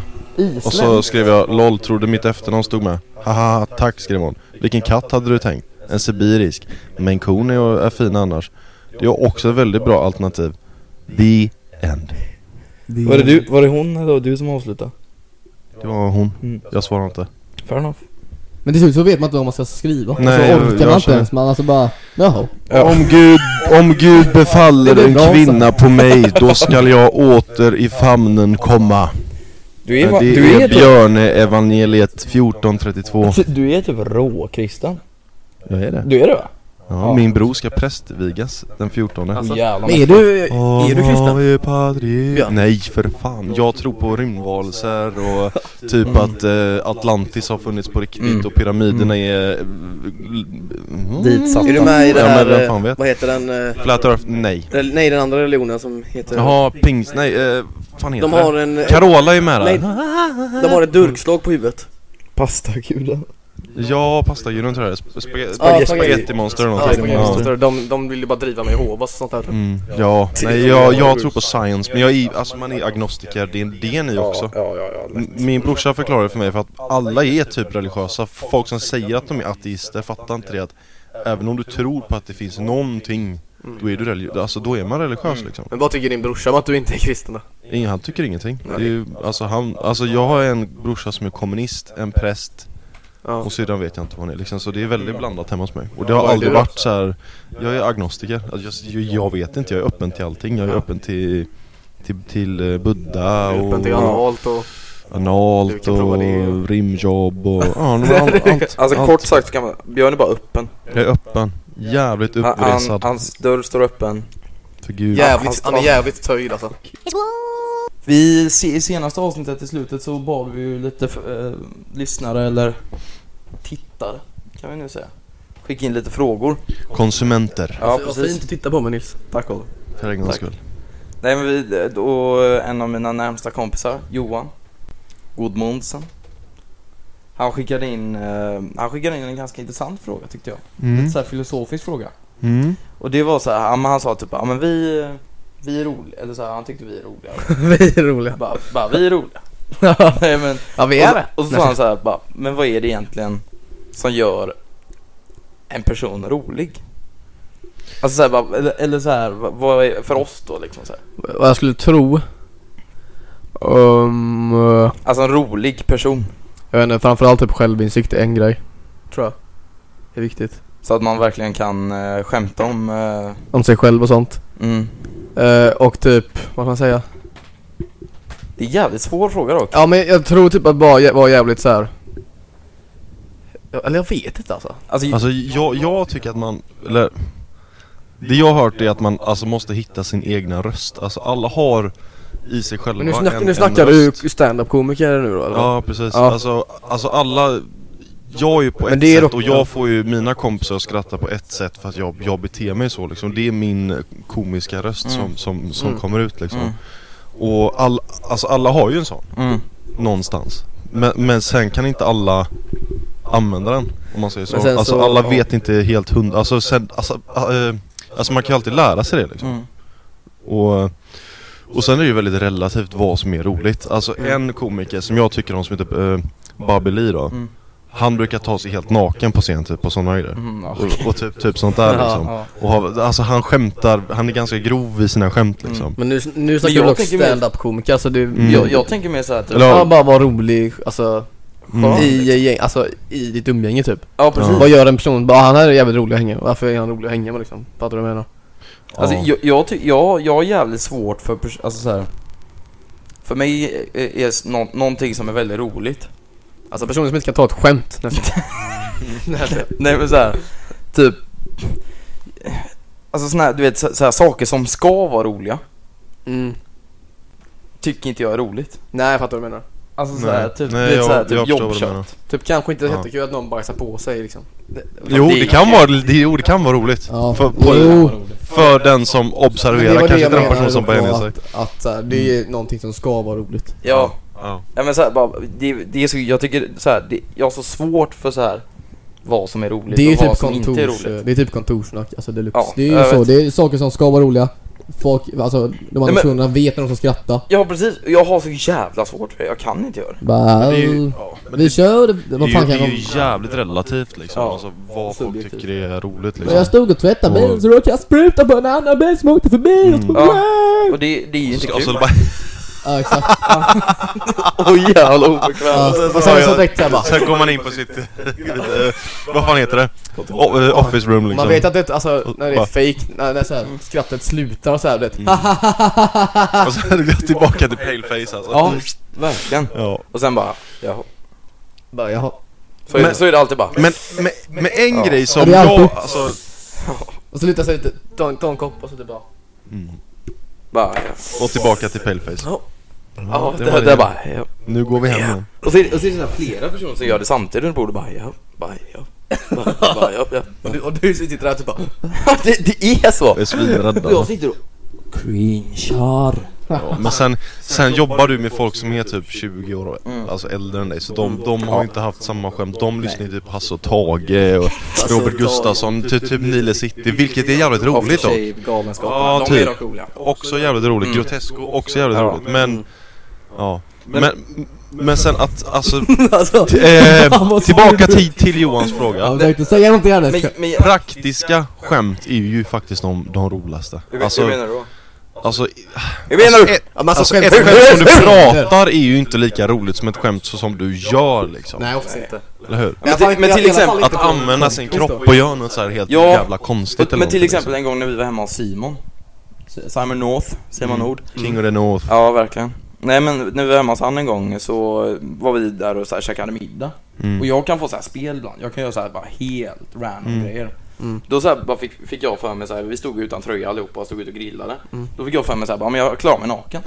Speaker 1: Och så skrev jag LOL, trodde mitt efternamn stod med. Haha, tack skrev hon. Vilken katt hade du tänkt? En sibirisk. Men kon är, är fin annars. Det är också ett väldigt bra alternativ. The end.
Speaker 2: var, det du, var det hon eller var det du som avslutade?
Speaker 1: Det var hon.
Speaker 2: Mm.
Speaker 1: Jag svarar inte.
Speaker 2: Fair enough.
Speaker 7: Men till slut så vet man inte vad man ska skriva.
Speaker 1: Nej,
Speaker 7: så
Speaker 1: jag-
Speaker 7: orkar
Speaker 1: jag
Speaker 7: man inte
Speaker 1: känner-
Speaker 7: ens. Man alltså bara, jaha.
Speaker 2: Ja.
Speaker 1: Om, Gud, om Gud
Speaker 7: Det
Speaker 1: befaller
Speaker 7: är
Speaker 1: en
Speaker 7: bra, så.
Speaker 1: kvinna på mig, då skall jag åter i famnen komma.
Speaker 2: Du
Speaker 1: Det
Speaker 2: är, va-
Speaker 1: är,
Speaker 2: du är, typ,
Speaker 1: Björne evangeliet 1432.
Speaker 2: du är typ råkristen.
Speaker 1: Jag är det.
Speaker 2: Du är det va?
Speaker 1: Ja, min bror ska prästvigas den 14.
Speaker 2: Alltså, Jävlar.
Speaker 3: Men är du, är du kristen?
Speaker 1: Ave Patri-
Speaker 3: Björn.
Speaker 1: Nej för fan, jag tror på rymdvarelser och typ att eh, Atlantis har funnits på riktigt
Speaker 2: Mm.
Speaker 1: och pyramiderna är... eh, Mm.
Speaker 2: Ditsatta.
Speaker 3: Är du med i det
Speaker 1: Ja, men
Speaker 3: här,
Speaker 1: vem
Speaker 3: eh,
Speaker 1: fan vet?
Speaker 3: vad heter den? eh,
Speaker 1: Flat Earth, nej.
Speaker 3: rel- Nej den andra religionen som heter
Speaker 1: Jaha, Mm. pings... Nej, eh, fan heter
Speaker 3: De har
Speaker 1: det?
Speaker 3: en,
Speaker 1: Carola är med
Speaker 3: nej,
Speaker 1: där.
Speaker 3: de har ett durkslag på huvudet
Speaker 2: Pastaguden.
Speaker 1: Ja, pastagudon tror jag det är. Sp-
Speaker 3: Spaghetti.
Speaker 1: sp- Spagettimonster eller
Speaker 3: Ja,
Speaker 1: någonting. Ja.
Speaker 3: de, de vill ju bara driva med Jehovas och sånt där
Speaker 1: Mm. Ja, nej jag, jag tror på science, men jag är, alltså man är agnostiker, det är, det är ni också.
Speaker 2: Ja, ja, ja.
Speaker 1: M- Min brorsa förklarade för mig för att alla är typ religiösa. Folk som säger att de är ateister fattar inte det att även om du tror på att det finns någonting, då är du religiös. Alltså då är man religiös liksom.
Speaker 3: Men vad tycker din brorsa om att du inte är kristen då?
Speaker 1: Ingen, han tycker ingenting. Det är ju, alltså, han, alltså jag har en brorsa som är kommunist, en präst
Speaker 3: Ja.
Speaker 1: och sedan vet jag inte vad han är liksom. Så det är väldigt blandat hemma hos mig. Och det har aldrig
Speaker 3: du då?
Speaker 1: varit så här. jag är agnostiker. Alltså, jag, jag vet inte, jag är öppen till allting. Jag är öppen till till, till eh, Buddha och
Speaker 3: Öppen till analt och... Du
Speaker 1: Analt
Speaker 3: kan prova det.
Speaker 1: och rimjobb och ja, nu var allt, allt,
Speaker 2: Alltså
Speaker 1: allt.
Speaker 2: kort sagt så kan man, Björn är bara öppen.
Speaker 1: Jag är öppen, jävligt
Speaker 2: Han, han,
Speaker 1: uppresad
Speaker 2: hans dörr står öppen.
Speaker 1: för gud
Speaker 3: Jävligt, han är jävligt töjd alltså
Speaker 2: Vi, se- i senaste avsnittet i slutet så bad vi ju lite eh, lyssnare eller tittare, kan vi nu säga. Skicka in lite frågor.
Speaker 1: Konsumenter,
Speaker 2: Ja,
Speaker 3: Varför Alltså, inte titta på mig Nils?
Speaker 2: Tack Oliver.
Speaker 1: för en gångs
Speaker 2: Tack.
Speaker 1: skull
Speaker 2: Nej men vi, då en av mina närmsta kompisar, Johan Gudmundsen. Han skickade in, eh, han skickade in en ganska intressant fråga tyckte jag.
Speaker 1: mm.
Speaker 2: En så här filosofisk fråga.
Speaker 1: Mm.
Speaker 2: Och det var så här, ja, men han sa typ, ja men vi, vi är roliga, eller så här, han tyckte vi är roliga.
Speaker 3: Vi är roliga
Speaker 2: bara, bara vi är roliga. Nej men,
Speaker 3: Ja vi är
Speaker 2: och,
Speaker 3: det!
Speaker 2: så- och så sa han så här, bara, men vad är det egentligen som gör en person rolig? Alltså så här, bara, eller, eller så här, vad- vad är, för oss då liksom så här.
Speaker 3: Vad jag skulle tro um,
Speaker 2: Alltså en rolig person.
Speaker 3: Jag vet inte, framförallt typ självinsikt är en grej Tror jag Det är viktigt
Speaker 2: Så att man verkligen kan eh, skämta om... Eh,
Speaker 3: Om sig själv och sånt
Speaker 2: mm.
Speaker 3: Eh, Och typ, vad kan man säga?
Speaker 2: Det är en jävligt svår fråga dock.
Speaker 3: Ja men jag tror typ att bara jä- vara jävligt så här. Ja, Eller jag vet inte alltså
Speaker 2: Alltså,
Speaker 1: Alltså jag, jag tycker att man, eller Det jag har hört är att man alltså måste hitta sin egna röst, alltså alla har i sig själva
Speaker 3: Men nu, snack,
Speaker 1: en,
Speaker 3: nu
Speaker 1: en
Speaker 3: snackar du
Speaker 1: röst.
Speaker 3: stand-up komiker nu då eller? vad?
Speaker 1: Ja precis,
Speaker 3: Ja.
Speaker 1: Alltså, alltså alla jag är ju på
Speaker 3: Men
Speaker 1: ett
Speaker 3: det
Speaker 1: sätt
Speaker 3: är dock-
Speaker 1: och jag får ju mina kompisar att skratta på ett sätt för att jag, jag beter mig så liksom. Det är min komiska röst
Speaker 2: Mm.
Speaker 1: som, som, som
Speaker 3: Mm.
Speaker 1: kommer ut liksom.
Speaker 2: Mm.
Speaker 1: Och all, alltså alla har ju en sån
Speaker 2: mm.
Speaker 1: någonstans. Men, men sen kan inte alla använda den om man säger så.
Speaker 3: Men sen
Speaker 1: Alltså
Speaker 3: så-
Speaker 1: alla
Speaker 3: ja.
Speaker 1: vet inte helt hundra, alltså, sen, alltså, äh, alltså man kan ju alltid lära sig det liksom.
Speaker 2: Mm.
Speaker 1: Och, och sen är det ju väldigt relativt vad som är roligt. Alltså
Speaker 2: Mm.
Speaker 1: en komiker som jag tycker om som heter uh, Babeli då.
Speaker 2: Mm.
Speaker 1: Han brukar ta sig helt naken på scen typ och sådana grejer.
Speaker 2: Mm, ja.
Speaker 1: Och, och typ, typ sånt där liksom.
Speaker 2: Ja.
Speaker 1: Och har, alltså han skämtar, han är ganska grov i sina skämt liksom.
Speaker 2: Mm.
Speaker 3: Men nu, nu
Speaker 2: snackar
Speaker 3: snackar
Speaker 2: jag
Speaker 3: alltså du dock
Speaker 2: tänker mer-
Speaker 3: stand-up komiker så det,
Speaker 1: Mm.
Speaker 2: Jag, jag tänker mer såhär typ,
Speaker 1: Eller-
Speaker 3: Ja, bara vara rolig, alltså
Speaker 1: Mm.
Speaker 2: Skönt.
Speaker 3: I, i, gäng- alltså, i ditt umgänge typ.
Speaker 2: Ja precis.
Speaker 3: Vad gör en person? Bara, han här är jävligt rolig att hänga med. Varför är han rolig att hänga med liksom? Fattar du vad jag menar?
Speaker 2: Alltså jag, jag, ty- jag, jag har jävligt svårt för, pers- alltså så här. För mig är, är s- nå- någonting som är väldigt roligt.
Speaker 3: Alltså personer som inte kan ta ett skämt nästan.
Speaker 2: Nej men såhär, typ Alltså såna här, du vet så, så här, saker som ska vara roliga
Speaker 3: Mm.
Speaker 2: Tycker inte jag är roligt
Speaker 3: Nej, jag fattar vad du menar.
Speaker 2: Alltså
Speaker 1: Nej.
Speaker 2: såhär, typ,
Speaker 1: Nej,
Speaker 2: du vet,
Speaker 1: jag-
Speaker 2: så här, typ
Speaker 1: jag förstår vad du
Speaker 2: jobbkött.
Speaker 1: menar.
Speaker 3: Typ kanske inte
Speaker 1: Ja.
Speaker 3: jättekul att någon bajsar på sig liksom.
Speaker 1: Jo
Speaker 2: det är
Speaker 1: det kan vara, det, jo, det kan vara roligt.
Speaker 7: Ja.
Speaker 1: För,
Speaker 7: Jo.
Speaker 1: för den som
Speaker 3: Men det
Speaker 1: observerar,
Speaker 3: var det
Speaker 1: kanske
Speaker 3: jag
Speaker 1: inte den
Speaker 3: menade
Speaker 1: person som Mm. bär ner sig.
Speaker 7: Att, att så här, det är någonting som ska vara roligt.
Speaker 2: Ja,
Speaker 1: Ja.
Speaker 2: ja men såhär bara, det, det är så, jag tycker såhär, det, jag har så svårt för såhär Vad som är roligt
Speaker 7: Det är ju
Speaker 2: och vad
Speaker 7: typ
Speaker 2: som
Speaker 7: kontors,
Speaker 2: inte är roligt
Speaker 7: det är typ kontorssnack, alltså deluxe.
Speaker 2: Ja,
Speaker 7: det är ju
Speaker 2: jag
Speaker 7: så,
Speaker 2: vet.
Speaker 7: det är saker som ska vara roliga. Folk, alltså de andra
Speaker 2: men-
Speaker 7: personerna vet när de ska skratta.
Speaker 2: Ja precis, jag har så jävla svårt för det, jag kan inte göra det
Speaker 7: Bara,
Speaker 1: Det är ju,
Speaker 7: vi kör, vad
Speaker 1: det är
Speaker 7: fan
Speaker 1: ju,
Speaker 7: kan
Speaker 1: det är ju
Speaker 7: de...
Speaker 1: jävligt relativt liksom.
Speaker 2: Ja.
Speaker 1: Alltså vad folk
Speaker 2: Subjektivt.
Speaker 1: tycker är roligt
Speaker 7: Men jag
Speaker 1: liksom.
Speaker 7: stod och tvättade bilen så råkade jag spruta på en annan bil som åkte förbi och så...
Speaker 2: Mm. Ja, och det, det är ju inte kul
Speaker 1: Alltså, bara,
Speaker 7: Ja exakt.
Speaker 2: Åh jävla obekvämt
Speaker 7: Ja, och sen så direkt såhär bara...
Speaker 1: sen går man in på sitt... eh, vad fan heter det? O- eh, office room liksom.
Speaker 3: Man vet att det alltså, när det är
Speaker 1: Va?
Speaker 3: fake, när, när så
Speaker 1: Mm.
Speaker 3: här, skrattet slutar och så här, du vet.
Speaker 1: Och sen går jag tillbaka till paleface alltså.
Speaker 2: Ja, verkligen
Speaker 1: Ja.
Speaker 2: Och sen bara, jaha
Speaker 3: Bara, jaha.
Speaker 2: Så är,
Speaker 1: Men-
Speaker 2: så är det alltid bara
Speaker 1: Men, men, men en grej som
Speaker 7: Det är alltid-
Speaker 1: jag... Alltså,
Speaker 3: Och så lutar sig lite, ta en, ta en kopp och så typ bara.
Speaker 2: Bara,
Speaker 1: och tillbaka till paleface.
Speaker 2: Ja. ja,
Speaker 1: det
Speaker 2: det,
Speaker 1: var
Speaker 2: det,
Speaker 1: det.
Speaker 2: bara, ja.
Speaker 1: Nu går vi hem igen.
Speaker 2: Och så är det, och så är det så här flera personer som gör det samtidigt runt bordet, bara ja, bara ja, bara bara, ja, ja.
Speaker 3: Och du, och du sitter där och typ bara.
Speaker 2: det, det är så!
Speaker 1: Jag är svinrädd
Speaker 2: Och jag
Speaker 1: alltså.
Speaker 2: sitter och cringear.
Speaker 1: Ja, men sen, sen jobbar du med folk som är typ 20 år alltså äldre än dig så de, de har ju inte haft samma skämt. De lyssnar ju typ Hasse och Tage och Robert Gustafsson, typ, typ Nile City, vilket är jävligt roligt dock.
Speaker 2: Galenskaperna,
Speaker 1: Ja,
Speaker 2: de är
Speaker 1: typ.
Speaker 2: dock roliga.
Speaker 1: Också jävligt roligt. Grotesco, också jävligt roligt. Mm. Men, ja. Men, men sen att, alltså,
Speaker 7: Alltså,
Speaker 1: t- eh,
Speaker 7: fan, vad
Speaker 1: tillbaka
Speaker 7: svårt.
Speaker 1: till, till Johans
Speaker 7: Ja,
Speaker 1: fråga.
Speaker 7: försökte säga någonting annat.
Speaker 2: Men, men
Speaker 1: Praktiska skämt är ju faktiskt de, de roligaste.
Speaker 2: hur, hur
Speaker 1: Alltså,
Speaker 2: menar du då?
Speaker 1: alltså
Speaker 2: Hur menar du?
Speaker 1: ett,
Speaker 3: Ja, men alltså,
Speaker 1: alltså,
Speaker 3: skämt-
Speaker 1: ett skämt som du pratar är ju inte lika roligt som ett skämt så som du gör liksom.
Speaker 3: Nej, oftast inte.
Speaker 1: Eller hur?
Speaker 2: Men till, men till exempel,
Speaker 1: Att använda sin kropp och göra något så här helt
Speaker 2: Ja,
Speaker 1: jävla konstigt eller
Speaker 2: men till
Speaker 1: någonting, liksom.
Speaker 2: exempel en gång när vi var hemma hos Simon. Simon North, Simon Nord.
Speaker 1: liksom. King of the North.
Speaker 2: Ja, verkligen. Nej men när vi var hemma hos han en gång så var vi där och så här käkade middag.
Speaker 1: Mm.
Speaker 2: Och jag kan få så här spel ibland. Jag kan göra så här bara helt random
Speaker 1: Mm.
Speaker 2: grejer. Då så här bara fick, fick jag för mig så här, vi stod utan tröja allihopa och stod ute och grillade. Då fick jag för mig så här, bara, men jag klär av mig naken.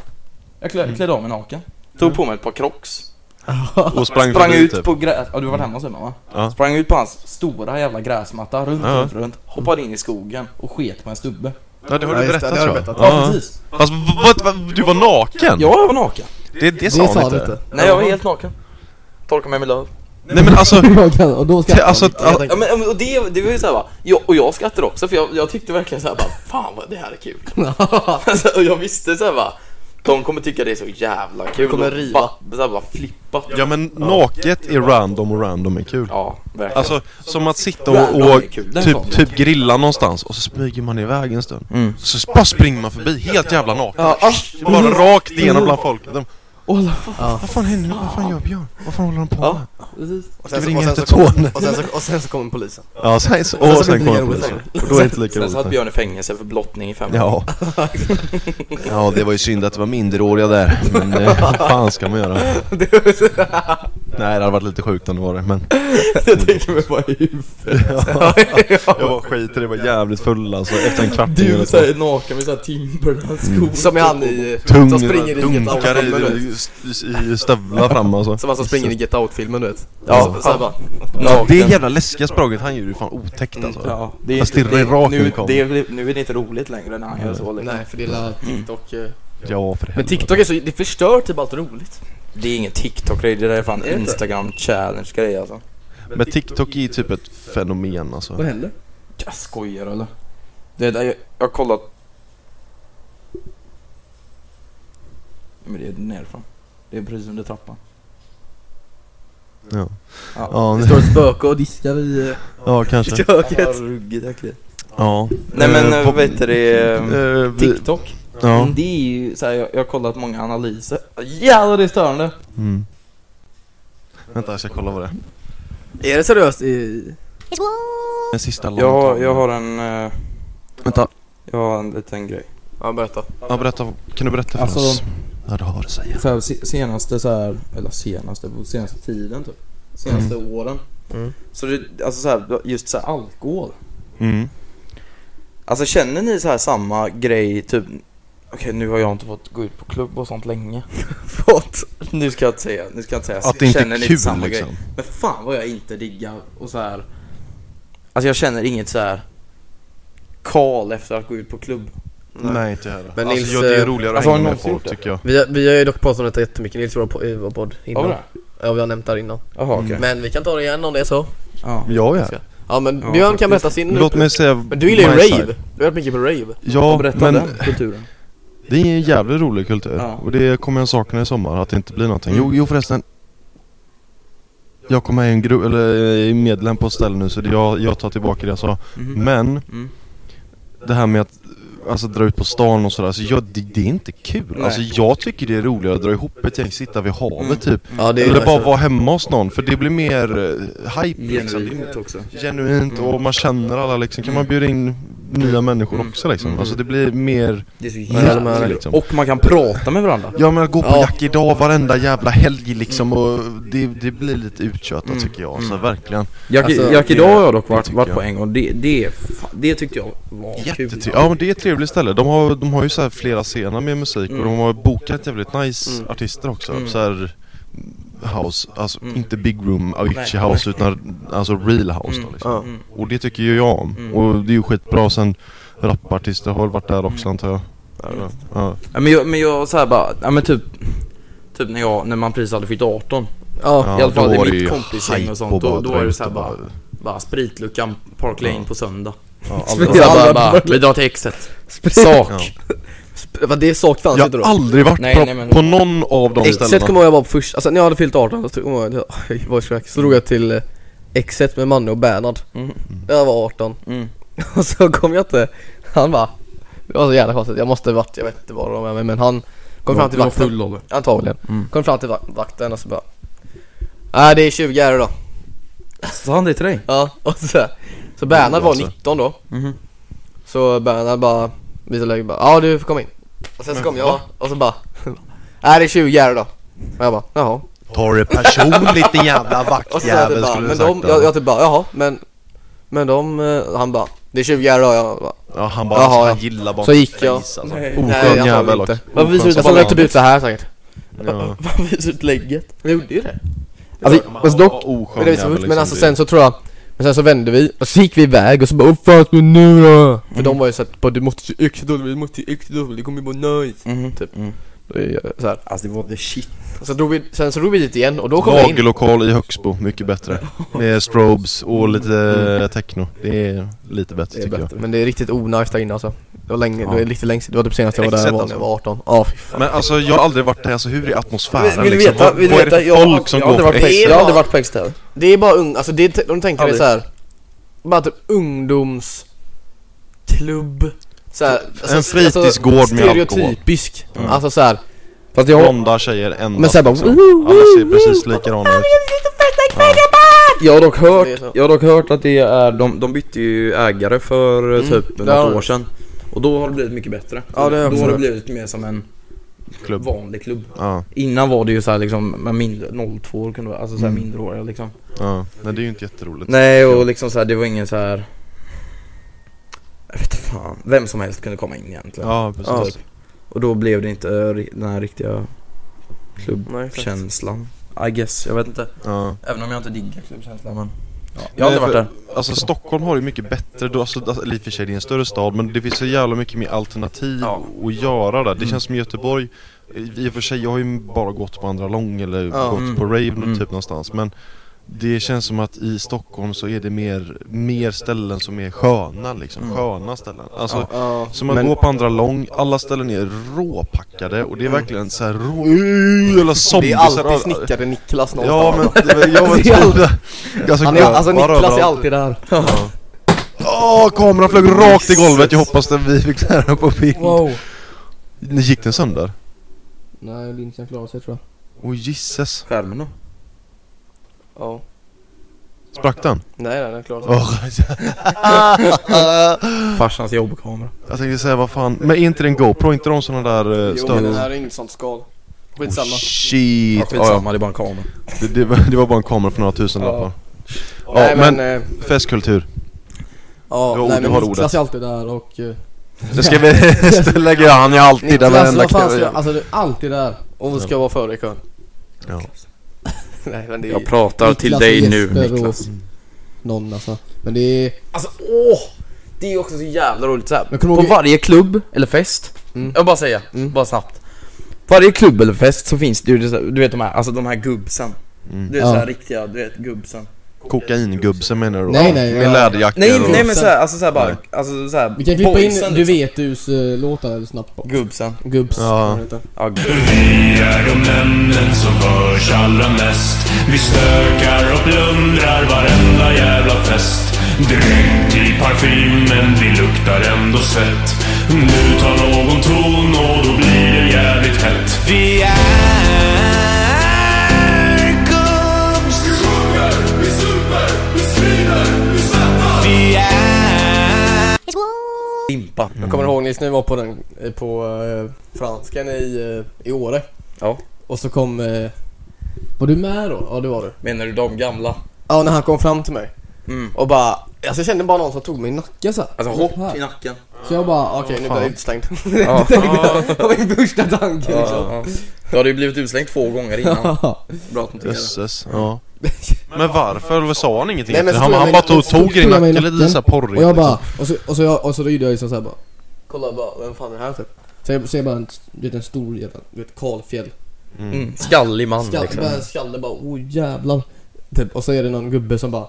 Speaker 2: Jag klä,
Speaker 1: Mm.
Speaker 2: klädde av mig naken. Tog på mig ett par crocs.
Speaker 1: Och Mm. sprang,
Speaker 2: Sprang
Speaker 1: förbi,
Speaker 2: ut
Speaker 1: typ.
Speaker 2: på gräs... Ja, du var hemma hos mig va?
Speaker 1: Ja.
Speaker 2: Sprang ut på hans stora jävla gräsmatta runt,
Speaker 1: Ja.
Speaker 2: runt, runt. Hoppade in i skogen och sket på en stubbe.
Speaker 1: Ja det har
Speaker 3: Ja,
Speaker 1: du
Speaker 3: just det,
Speaker 1: berättat
Speaker 3: det har
Speaker 1: tror
Speaker 3: du
Speaker 1: jag.
Speaker 3: berättat.
Speaker 2: Ja,
Speaker 1: Ja. Mm.
Speaker 2: precis.
Speaker 1: Fast vad, vad, du var naken?
Speaker 2: Ja, jag var naken.
Speaker 1: Det, det
Speaker 7: Det
Speaker 1: sa
Speaker 7: sa
Speaker 1: han
Speaker 7: du
Speaker 1: inte.
Speaker 7: inte.
Speaker 2: Nej, jag var helt naken. Torkade mig med löv.
Speaker 1: Nej men alltså,
Speaker 7: och då ska
Speaker 1: t- alltså, att- att-
Speaker 2: Ja, men, ja, men, och det, det var ju såhär bara, jag, och jag skrattade också för jag, jag tyckte verkligen såhär bara, fan vad det här är kul. alltså, och jag visste såhär bara, de kommer tycka det är så jävla kul.
Speaker 3: kommer
Speaker 2: och
Speaker 3: riva.
Speaker 2: Bara, såhär bara flippa.
Speaker 1: ja men naket är random och random är kul.
Speaker 2: Ja, verkligen.
Speaker 1: Alltså, som att sitta och,
Speaker 2: Random
Speaker 1: och
Speaker 2: är kul.
Speaker 1: typ, typ grilla någonstans och så smyger man iväg en stund. Så bara springer man förbi helt jävla naken.
Speaker 2: Ja, ah,
Speaker 1: Bara rakt igenom bland folk. De,
Speaker 2: och alla-
Speaker 1: vad fan händer nu? Vad fan gör Björn? Vad fan håller han på
Speaker 2: Ja.
Speaker 1: med?
Speaker 2: precis.
Speaker 3: Och
Speaker 1: Ska vi
Speaker 3: så-
Speaker 1: ringa
Speaker 3: och
Speaker 1: efter
Speaker 3: så kom-
Speaker 1: Tony?
Speaker 3: Och sen så, och sen så kommer polisen.
Speaker 1: Ja, sen, och sen kommer polisen. Och då är det inte lika
Speaker 2: Sen satt
Speaker 1: roligt.
Speaker 2: Björn i fängelse för blottning i fem år.
Speaker 1: Ja. ja, det var ju synd att det var minderåriga där. Men eh, vad fan ska man göra? Nej, det hade varit lite sjukt om det var det, men...
Speaker 3: Jag tänker mig bara i huvudet.
Speaker 1: Ja. Jag var skiter det var jävligt full alltså efter en kvart eller
Speaker 2: Du
Speaker 1: två.
Speaker 2: såhär naken med såhär Timberlands-skor.
Speaker 3: Mm. Som är han i...
Speaker 1: Tung,
Speaker 3: som springer i Get
Speaker 1: dunkar i,
Speaker 3: Out-filmen du vet.
Speaker 1: i, i stövlar fram alltså.
Speaker 3: Som han som springer i Get Out-filmen du vet.
Speaker 2: Ja,
Speaker 3: Så här bara.
Speaker 1: Ja, det
Speaker 2: naken. Mm,
Speaker 1: jävla läskiga språket han gör är fan otäckt alltså.
Speaker 2: Ja, det är
Speaker 1: Fast
Speaker 2: inte-
Speaker 1: det är rakt
Speaker 2: nu,
Speaker 1: inkom.
Speaker 2: det är, nu är det inte roligt längre när han gör så. Liksom.
Speaker 3: Nej, för det är
Speaker 1: Mm.
Speaker 3: la- TikTok... eh.
Speaker 1: Ja, för
Speaker 3: Men
Speaker 1: helvete.
Speaker 3: TikTok är så, det förstör typ allt roligt.
Speaker 2: Det är ingen TikTok-grej, det där är fan
Speaker 3: det inte?
Speaker 2: Instagram-challenge-grej alltså.
Speaker 1: Men TikTok är ju typ ett fenomen alltså.
Speaker 3: händer?
Speaker 2: Jag skojar eller? Det där jag, jag har kollat... Men det är nerifrån. Det är precis under trappan.
Speaker 1: Ja,
Speaker 2: Ja.
Speaker 1: ja, nu-
Speaker 3: Det står ett spöke och diskar i eh,
Speaker 1: ja kanske.
Speaker 2: Ja,
Speaker 3: köket.
Speaker 2: ruggigt äckligt.
Speaker 1: Ja.
Speaker 2: Nej men
Speaker 1: Eh,
Speaker 2: eh, Mm.
Speaker 1: vad-
Speaker 2: vad heter det? eh,
Speaker 1: eh, vi-
Speaker 2: TikTok.
Speaker 1: Ja.
Speaker 2: Det är ju såhär, jag, jag har kollat många analyser. Jävlar det är störande!
Speaker 1: Mm. Vänta, jag ska kolla vad det är.
Speaker 3: Är det seriöst i...
Speaker 1: Den sista låten.
Speaker 2: Jag har, jag har en... eh,
Speaker 1: Vänta.
Speaker 2: Jag har en liten grej.
Speaker 3: Ja, berätta.
Speaker 1: Ja, berätta. Kan du berätta för
Speaker 2: Alltså-
Speaker 1: oss? Vad du har att säga.
Speaker 2: För se- senaste så här, eller senaste, på senaste tiden typ. Senaste åren.
Speaker 3: Mm.
Speaker 2: Så det, alltså så här, just så här alkohol.
Speaker 1: Mm.
Speaker 2: Alltså känner ni så här samma grej typ Okej nu har jag inte fått gå ut på klubb och sånt länge Fått? Nu ska jag inte säga, nu ska jag inte säga
Speaker 1: Att det inte
Speaker 2: Känner
Speaker 1: är
Speaker 2: ni
Speaker 1: kul
Speaker 2: samma grej?
Speaker 1: liksom.
Speaker 2: Men fan vad jag inte diggar och så här. Alltså jag känner inget så här Kall efter att gå ut på klubb
Speaker 1: Nej, inte jag heller.
Speaker 3: Men
Speaker 1: Alltså,
Speaker 3: Nils,
Speaker 1: ja, det är
Speaker 3: eh,
Speaker 1: roligare
Speaker 2: alltså,
Speaker 1: att
Speaker 2: har
Speaker 1: hänga
Speaker 2: ni
Speaker 1: med
Speaker 2: någonsin
Speaker 1: folk
Speaker 2: gjort det?
Speaker 1: tycker jag.
Speaker 3: Vi, har- vi har ju dock pratat om detta jättemycket, Nils var på, i eh, vår podd innan.
Speaker 2: Jaha
Speaker 3: Ja, vi har nämnt det här innan.
Speaker 2: okej
Speaker 1: Mm.
Speaker 3: Men vi kan ta det igen om det är så.
Speaker 2: ja.
Speaker 1: Ja, ja.
Speaker 3: Ja men
Speaker 2: Ja,
Speaker 3: Björn
Speaker 2: faktiskt.
Speaker 3: kan berätta sin
Speaker 1: Låt mig säga
Speaker 3: Men du gillar ju
Speaker 1: my
Speaker 3: rave,
Speaker 1: side.
Speaker 3: du har varit mycket på rave
Speaker 2: Och
Speaker 1: Ja,
Speaker 2: berätta
Speaker 1: men
Speaker 2: den kulturen
Speaker 1: det är en jävligt rolig kultur.
Speaker 2: Ja. Mm.
Speaker 1: Och det kommer jag sakna i sommar, att det inte blir någonting. Jo, jo förresten. Jag kommer i en grupp, eller eh, är medlem på ett ställe nu så det jag, jag tar tillbaka det jag sa.
Speaker 2: Mhm.
Speaker 1: Men,
Speaker 2: Mm.
Speaker 1: det här med att Alltså dra ut på stan och sådär, alltså, jag, det, det är inte kul.
Speaker 2: Nej.
Speaker 1: Alltså jag tycker det är roligare att dra ihop ett gäng, sitta vid havet
Speaker 2: Mm.
Speaker 1: typ.
Speaker 3: Ja det
Speaker 1: Eller
Speaker 2: alltså.
Speaker 1: bara vara hemma hos någon, för det blir mer eh, hype liksom. Det är mer
Speaker 2: Genuint också
Speaker 1: Genuint och man känner alla liksom. Kan man bjuda in nya människor
Speaker 2: Mm.
Speaker 1: också liksom?
Speaker 2: Mm.
Speaker 1: Alltså det blir mer...
Speaker 2: Det är så
Speaker 1: Ja, alltså, liksom. de
Speaker 2: jävla Alltså,
Speaker 1: här-
Speaker 2: roligt. Och man kan prata med varandra
Speaker 1: Ja men gå på
Speaker 3: Ja.
Speaker 1: Jack idag varenda jävla helg liksom och det, det blir lite uttjötat
Speaker 2: Mm.
Speaker 1: tycker jag. Alltså verkligen.
Speaker 2: Jack,
Speaker 3: Alltså,
Speaker 2: Jack idag har jag dock varit,
Speaker 1: tycker
Speaker 2: varit
Speaker 1: jag.
Speaker 2: på en gång, det, det, är fa- det tyckte jag var kul
Speaker 1: Jättetrevligt. Ja men det är ett trevligt ställe. De har, de har ju så här flera scener med musik och
Speaker 2: Mm.
Speaker 1: de har bokat jävligt nice
Speaker 3: Mm.
Speaker 1: artister också.
Speaker 2: Mm.
Speaker 1: Så här house, alltså
Speaker 2: Mm.
Speaker 1: inte big room Avicii
Speaker 2: Nej.
Speaker 1: house utan alltså real house
Speaker 2: Mm.
Speaker 1: då liksom.
Speaker 3: Ja.
Speaker 2: Mm.
Speaker 1: Och det tycker ju jag om.
Speaker 2: Mm.
Speaker 1: Och det är ju skitbra. Sen rapartister har väl varit där också antar jag.
Speaker 2: Mm.
Speaker 1: Ja.
Speaker 2: Ja, men jag, men jag så här bara, ja men typ Typ när jag, när man precis hade fyllt 18
Speaker 3: Ja,
Speaker 2: I alla fall
Speaker 1: då
Speaker 2: i
Speaker 1: var det
Speaker 2: mitt
Speaker 1: ju
Speaker 2: kompisgäng och
Speaker 1: hype
Speaker 2: sånt, då-
Speaker 1: bara
Speaker 2: då var det
Speaker 1: dra ut
Speaker 2: så här
Speaker 1: och
Speaker 2: bara- Bara spritluckan, Park Lane
Speaker 1: Ja.
Speaker 2: på söndag
Speaker 1: Ja,
Speaker 2: Och
Speaker 1: aldrig-
Speaker 2: så
Speaker 3: alla
Speaker 2: bara, bara,
Speaker 3: Park
Speaker 2: vi drar till exet
Speaker 3: Sak!
Speaker 1: Ja.
Speaker 3: Vad det saknades inte
Speaker 1: Jag
Speaker 3: då?
Speaker 1: har aldrig varit
Speaker 2: Nej,
Speaker 1: på,
Speaker 2: nej, men-
Speaker 1: på någon av de
Speaker 3: Exet
Speaker 1: ställena.
Speaker 3: kommer jag vara på först, alltså när jag hade fyllt 18 så kommer jag, jag var i Shrek, så drog jag till eh, Exet med Manne och Bernhard
Speaker 2: Mm.
Speaker 3: Jag var 18
Speaker 2: Mm.
Speaker 3: och så kom jag inte, han bara Det var så jävla konstigt, jag måste varit, jag vet inte vad det var med mig men han kom fram till vakten
Speaker 2: Oliver
Speaker 3: Antagligen,
Speaker 2: Mm.
Speaker 3: kom fram till vak- vakten och så bara Nej det är 20 här idag
Speaker 2: Sa han det till dig?
Speaker 3: Ja, och så, så Bernhard var
Speaker 1: Alltså.
Speaker 3: 19 då
Speaker 2: Mhm.
Speaker 3: Så Bernhard bara visade läget bara Ja du får komma in Och sen så kom jag och så bara Nej det är 20 här idag Och jag bara jaha
Speaker 5: Tar det personligt din jävla
Speaker 3: Och så sa jag typ
Speaker 5: vaktjävel
Speaker 3: bara
Speaker 5: skulle du
Speaker 3: men
Speaker 5: sagt
Speaker 3: de,
Speaker 5: det.
Speaker 3: jag, jag typ bara jaha men Men de, eh," han bara Det är 20 här idag jag bara,
Speaker 1: Ja, han bara,
Speaker 3: Jaha,
Speaker 1: alltså, han
Speaker 3: ja.
Speaker 1: gillar bara
Speaker 3: Så gick jag
Speaker 1: face, alltså.
Speaker 2: Nej.
Speaker 1: Oskön
Speaker 3: Nej jag
Speaker 1: jävel
Speaker 3: jävel
Speaker 1: också.
Speaker 3: inte Varför visade du
Speaker 1: Oskön
Speaker 3: inte? Jag la
Speaker 1: som
Speaker 3: typ ut såhär säkert
Speaker 1: fan. Ja.
Speaker 2: Varför visar ut lägget?
Speaker 3: Jag gjorde ju det
Speaker 1: Ja,
Speaker 3: Alltså,
Speaker 1: men
Speaker 3: alltså
Speaker 1: han
Speaker 3: dock
Speaker 1: var oskön
Speaker 3: Men, det visste
Speaker 1: jävel,
Speaker 3: vi inte,
Speaker 1: liksom.
Speaker 3: men alltså
Speaker 1: Det-
Speaker 3: sen så tror jag Men sen så vände vi och så gick vi iväg och så bara 'Åh fan ska vi nu då?' För
Speaker 1: Mm.
Speaker 3: de var ju såhär bara 'Du måste ju extra dåligt, du måste ju extra dåligt, det kommer ju vara nice'
Speaker 2: Typ.
Speaker 3: Då är jag så här.
Speaker 2: Alltså det var the shit
Speaker 3: Och så drog vi, sen så drog vi dit igen och då kom jag in
Speaker 1: Lagerlokal i Högsbo, mycket bättre. Med strobes och lite eh, techno. Det är lite bättre tycker
Speaker 3: Mm. det är
Speaker 1: jag.
Speaker 3: bättre. Men det är riktigt onajs där inne alltså Det var länge, det var riktigt längst, det var typ senast jag var där
Speaker 1: Exakt,
Speaker 3: jag var när
Speaker 1: alltså.
Speaker 3: jag var 18 Ja fy fan
Speaker 1: Men alltså jag har aldrig varit där, alltså hur är atmosfären
Speaker 2: Vill du
Speaker 1: liksom?
Speaker 2: veta?
Speaker 1: Vad-
Speaker 2: Vill du
Speaker 1: vad är det
Speaker 2: veta? Jag
Speaker 1: för
Speaker 2: har-
Speaker 1: folk som
Speaker 2: jag har
Speaker 1: går
Speaker 2: aldrig
Speaker 1: på
Speaker 2: varit på
Speaker 1: ex?
Speaker 2: Jag har aldrig varit
Speaker 3: på extra Det är bara ung, alltså det, är- de tänker det
Speaker 2: Aldrig.
Speaker 3: så här. Bara typ ungdomsklubb så här, alltså,
Speaker 1: En fritidsgård med alkohol. Mm.
Speaker 3: Stereotypisk, alltså så här. Fast jag
Speaker 1: Blonda tjejer endast
Speaker 3: Men sen bara,
Speaker 1: liksom. Alla ser precis likadana ut.
Speaker 2: Jag har dock
Speaker 3: Det är så.
Speaker 2: hört, jag har dock hört att det är, de, de bytte ju ägare för eh, typ
Speaker 3: det har
Speaker 2: något
Speaker 3: de.
Speaker 2: år sedan Och då har det blivit mycket bättre
Speaker 3: Ja, det har jag
Speaker 2: Då har
Speaker 3: förstått.
Speaker 2: det blivit mer som en
Speaker 1: Klubb.
Speaker 2: vanlig klubb
Speaker 1: Ja,
Speaker 2: Innan var det ju såhär liksom, med mindre, 02 år kunde vara, alltså såhär mindreåriga liksom
Speaker 1: ja. Men det är ju inte jätteroligt.
Speaker 2: Nej och liksom såhär, det var ingen såhär Jag vet fan, vem som helst kunde komma in egentligen
Speaker 1: Ja, precis.
Speaker 2: Typ. Och då blev det inte eh, ri- den här riktiga
Speaker 3: Nej, exakt.
Speaker 2: klubbkänslan I guess, jag vet inte
Speaker 1: Ja.
Speaker 2: Även om jag inte diggar klubbkänslan men ja. Jag har aldrig varit där
Speaker 1: Alltså Stockholm har ju mycket bättre, då, alltså, alltså, eller i och för sig det är en större stad men det finns så jävla mycket mer alternativ
Speaker 2: Ja. Mm.
Speaker 1: att göra där. Det känns som Göteborg, i i och för sig jag har ju bara gått på Andra Lång eller
Speaker 3: Ja.
Speaker 1: gått
Speaker 2: Mm.
Speaker 1: på rave nå-
Speaker 2: Mm.
Speaker 1: typ någonstans men det känns som att i Stockholm så är det mer, mer ställen som är sköna liksom,
Speaker 2: Mm.
Speaker 1: sköna ställen. Alltså,
Speaker 3: Ja,
Speaker 1: så man
Speaker 3: men-
Speaker 1: går på andra lång, alla ställen är råpackade och det är
Speaker 2: Mm.
Speaker 1: verkligen såhär rå... Ugh, Eller
Speaker 3: Det är
Speaker 1: zombiesar
Speaker 3: alltid snickare Niklas
Speaker 1: Ja
Speaker 3: någonstans
Speaker 1: men, det- jag vet
Speaker 3: Det är alltid-
Speaker 1: inte Alltså,
Speaker 3: Han är, alltså
Speaker 1: gröpar
Speaker 3: Niklas är
Speaker 1: överallt.
Speaker 3: alltid där
Speaker 1: Åh, kameran flög rakt i golvet. Jag hoppas att vi fick den här på bild.
Speaker 7: Wow.
Speaker 1: Gick den sönder?
Speaker 7: Nej, Linsen klarar sig tror jag.
Speaker 1: Åh oh, jisses.
Speaker 2: Skärmen då?
Speaker 3: Ja.
Speaker 1: Sprack den?
Speaker 3: Nej, nej, det är klart.
Speaker 1: Åh,
Speaker 2: Farsans jobbkamera.
Speaker 1: jag tänkte säga vad fan. Men är inte det en GoPro? Inte de sådana där eh,
Speaker 3: Jo, men den
Speaker 1: större?
Speaker 3: här är inget sånt skal.
Speaker 1: Oh,
Speaker 3: Skitsamma.
Speaker 2: Ja,
Speaker 1: shit! Ja, ja.
Speaker 2: skitsamma, det är bara en kamera.
Speaker 1: Det, det, var, det var bara en kamera för några tusen lappar. Ja,
Speaker 3: nej, men...
Speaker 1: men
Speaker 3: eh,
Speaker 1: festkultur.
Speaker 3: ja,
Speaker 1: Du har-
Speaker 3: nej,
Speaker 1: du
Speaker 3: men
Speaker 1: har
Speaker 3: Niklas
Speaker 1: ordet.
Speaker 3: är alltid där och... eh,
Speaker 1: Det ska vi... det lägger jag, han är alltid där
Speaker 3: Niklas,
Speaker 1: varenda
Speaker 3: vad fan ska
Speaker 1: kväll.
Speaker 3: jag... Alltså, du är alltid där. Och ska vara före i kön.
Speaker 1: Ja.
Speaker 3: nej, men det är
Speaker 2: Jag pratar till
Speaker 3: Niklas
Speaker 2: dig
Speaker 3: och
Speaker 2: nu
Speaker 3: Jesper och
Speaker 2: Niklas.
Speaker 3: Någon alltså. Men det är...
Speaker 2: Alltså åh! Det är också så jävla roligt så här.
Speaker 3: Men kommer
Speaker 2: På
Speaker 3: ihåg-
Speaker 2: varje klubb eller fest,
Speaker 3: Mm.
Speaker 2: jag bara säga,
Speaker 3: Mm.
Speaker 2: bara snabbt. Varje klubb eller fest så finns det ju, du vet de här, alltså de här gubbsen.
Speaker 1: Mm.
Speaker 2: Du vet så här
Speaker 3: Ja.
Speaker 2: riktiga, du vet gubbsen.
Speaker 1: Kokaingubsen menar du då?
Speaker 3: Nej, nej,
Speaker 1: Med
Speaker 3: ja.
Speaker 1: läderjackor
Speaker 2: Nej,
Speaker 1: och...
Speaker 2: nej men såhär, alltså såhär bara,
Speaker 1: Nej.
Speaker 2: alltså såhär
Speaker 3: Vi kan klippa
Speaker 2: boysen, liksom.
Speaker 3: in Du vet dus eh, låtar eller snabbt på.
Speaker 2: Gubbsen.
Speaker 3: Gubbs.
Speaker 1: Ja.
Speaker 3: vad det heter.
Speaker 2: Ja, gubb.
Speaker 8: Vi är de ämnen som hörs allra mest. Vi stökar och plundrar varenda jävla fest. Drygt i parfym, men vi luktar ändå svett. Nu tar någon ton och då blir det jävligt hett. Vi är gubbs. Vi sjunger, vi super, vi skriver, vi svettas. Vi är...
Speaker 2: Limpa.
Speaker 3: Jag kommer
Speaker 1: Mm.
Speaker 3: ihåg Nils när vi var på den, eh, på eh, franskan i, eh, i Åre.
Speaker 2: Ja.
Speaker 3: Och så kom... Eh, var du med då? Ja det var du.
Speaker 2: Menar du de gamla?
Speaker 3: Ja när han kom fram till mig.
Speaker 2: Mm.
Speaker 3: Och bara... Alltså jag kände bara någon som tog mig i nacken så här.
Speaker 2: Alltså hopp
Speaker 3: Här.
Speaker 2: i nacken.
Speaker 3: Så jag bara okej nu blir jag
Speaker 1: fan.
Speaker 3: utslängd.
Speaker 2: Ja.
Speaker 3: det var min första tanke liksom.
Speaker 2: Ja. Du hade ju blivit utslängd två gånger innan. Bra att du inte gör det.
Speaker 1: Jösses, ja. Men varför? Eller Sa han ingenting?
Speaker 3: Nej, men
Speaker 1: efter? han
Speaker 3: så tog jag
Speaker 1: han
Speaker 3: mig-
Speaker 1: bara tog,
Speaker 3: så tog
Speaker 1: tog i
Speaker 3: jag mig i
Speaker 1: nacken lite
Speaker 3: nacken.
Speaker 1: såhär porrigt
Speaker 3: Och jag bara...
Speaker 1: liksom.
Speaker 3: Och så, och så, jag, och så då gjorde jag liksom såhär bara. Kolla bara vem fan är det här typ? Så jag ser bara en, du vet, en stor jävla, du vet kalfjäll.
Speaker 2: Mm. Skallig man
Speaker 3: Skall,
Speaker 2: liksom.
Speaker 3: bara en skalle bara oh jävlar typ, Och så är det någon gubbe som bara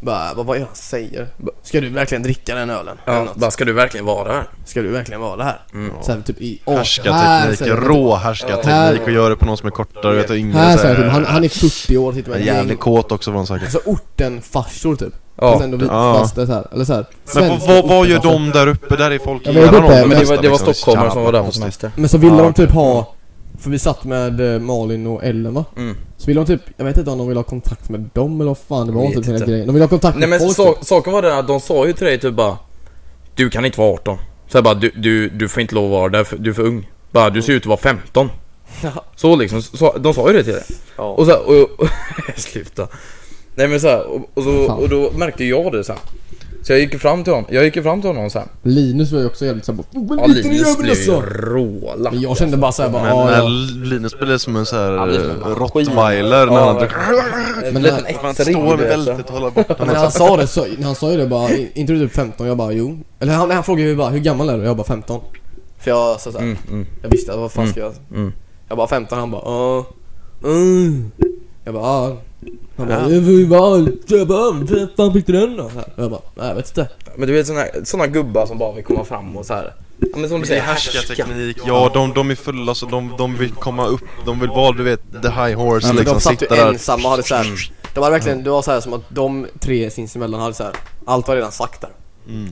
Speaker 3: bara, vad vad är det han säger? Bara, Ska du verkligen dricka den ölen? Eller
Speaker 2: Ja,
Speaker 3: något?
Speaker 2: bara, ska du verkligen vara här?
Speaker 3: Ska du verkligen vara här?
Speaker 2: Mm.
Speaker 3: Så här, typ i art. Här
Speaker 1: Härskarteknik,
Speaker 3: säger han,
Speaker 1: rå härskarteknik och gör det på någon som är kortare, vet du,
Speaker 3: typ,
Speaker 1: yngre
Speaker 3: Här
Speaker 1: så
Speaker 3: säger han, typ, han,
Speaker 1: här.
Speaker 3: han är 40 år sitter med en gäng
Speaker 1: Jävligt kåt också var han säkert.
Speaker 3: Alltså ortenfarsor typ
Speaker 2: Ja,
Speaker 3: Fast ändå vitfasta så här, eller så här.
Speaker 1: Men vad,
Speaker 3: Svenska
Speaker 1: vad, vad gör
Speaker 3: ortenfarsor.
Speaker 1: de där uppe? Där är folk
Speaker 3: Jag vet inte,
Speaker 1: de
Speaker 3: men
Speaker 2: Men det
Speaker 1: flesta,
Speaker 2: var, det var
Speaker 1: liksom.
Speaker 2: stockholmare som var där på
Speaker 1: Jävla
Speaker 2: semester.
Speaker 3: Men så ville
Speaker 2: Ja,
Speaker 3: de typ ha För vi satt med eh, Malin och Ellen va?
Speaker 2: Mm.
Speaker 3: Så ville de typ, jag vet inte om de ville ha kontakt med dem eller vad fan det var
Speaker 2: Vet
Speaker 3: typ hela
Speaker 2: inte.
Speaker 3: grejen De ville ha kontakt
Speaker 2: Nej
Speaker 3: med
Speaker 2: men
Speaker 3: folk
Speaker 2: så,
Speaker 3: typ.
Speaker 2: saken var den att de sa ju till dig typ bara Du kan inte vara 18 Så jag bara du, du, du får inte lov att vara där, för du är för ung Bara du ser ut att vara 15
Speaker 3: Ja.
Speaker 2: Så liksom, så- så, de sa ju det till dig
Speaker 3: Ja.
Speaker 2: Och så här, och, och Sluta Nej men så här, och, och, så,
Speaker 3: Fan.
Speaker 2: och då märkte jag det sen Så jag gick ju fram till honom, jag gick ju fram till honom sen
Speaker 3: Linus var ju också jävligt såhär oh, men
Speaker 2: Ja
Speaker 3: lite alltså. nu
Speaker 2: Linus
Speaker 3: gör vi
Speaker 2: blev
Speaker 3: det
Speaker 2: ju
Speaker 3: så
Speaker 2: rålack
Speaker 3: Men jag kände bara såhär bara,
Speaker 1: Men
Speaker 3: ah,
Speaker 1: när
Speaker 3: ja.
Speaker 1: Linus blev som en sån här
Speaker 2: blir som en
Speaker 1: eh,
Speaker 2: maskin.
Speaker 1: rottweiler när
Speaker 2: Ja,
Speaker 1: han
Speaker 3: Men
Speaker 2: verkligen. Men
Speaker 3: när-
Speaker 1: står med bältet och håller bort
Speaker 3: Men när alltså. han sa det så, när han sa ju det bara, "I- inte du typ 15? Jag bara jo Eller han, han frågade ju bara, hur gammal är du? Jag bara 15 För jag sa såhär,
Speaker 2: mm, mm,
Speaker 3: jag visste vad fan ska jag
Speaker 2: mm.
Speaker 3: Jag bara 15, han bara ah, mm. Jag bara ah. Han bara, "Eh, vad- vad- jag bara, hur fan fick du den då? Jag bara, nej jag vet inte
Speaker 2: Men du vet såna, såna gubbar som bara vill komma fram och så här. Ja, men som
Speaker 1: Det
Speaker 2: du
Speaker 1: är
Speaker 2: säger,
Speaker 1: härskarteknik, ja de, de är fulla så de, de vill komma upp, de vill vara du vet the high horse
Speaker 3: Men
Speaker 1: liksom,
Speaker 3: de satt ju
Speaker 1: sitta där
Speaker 3: ensamma och hade
Speaker 2: Mm.
Speaker 3: såhär De hade verkligen, det var såhär som att de tre sinsemellan hade såhär Allt var redan sagt där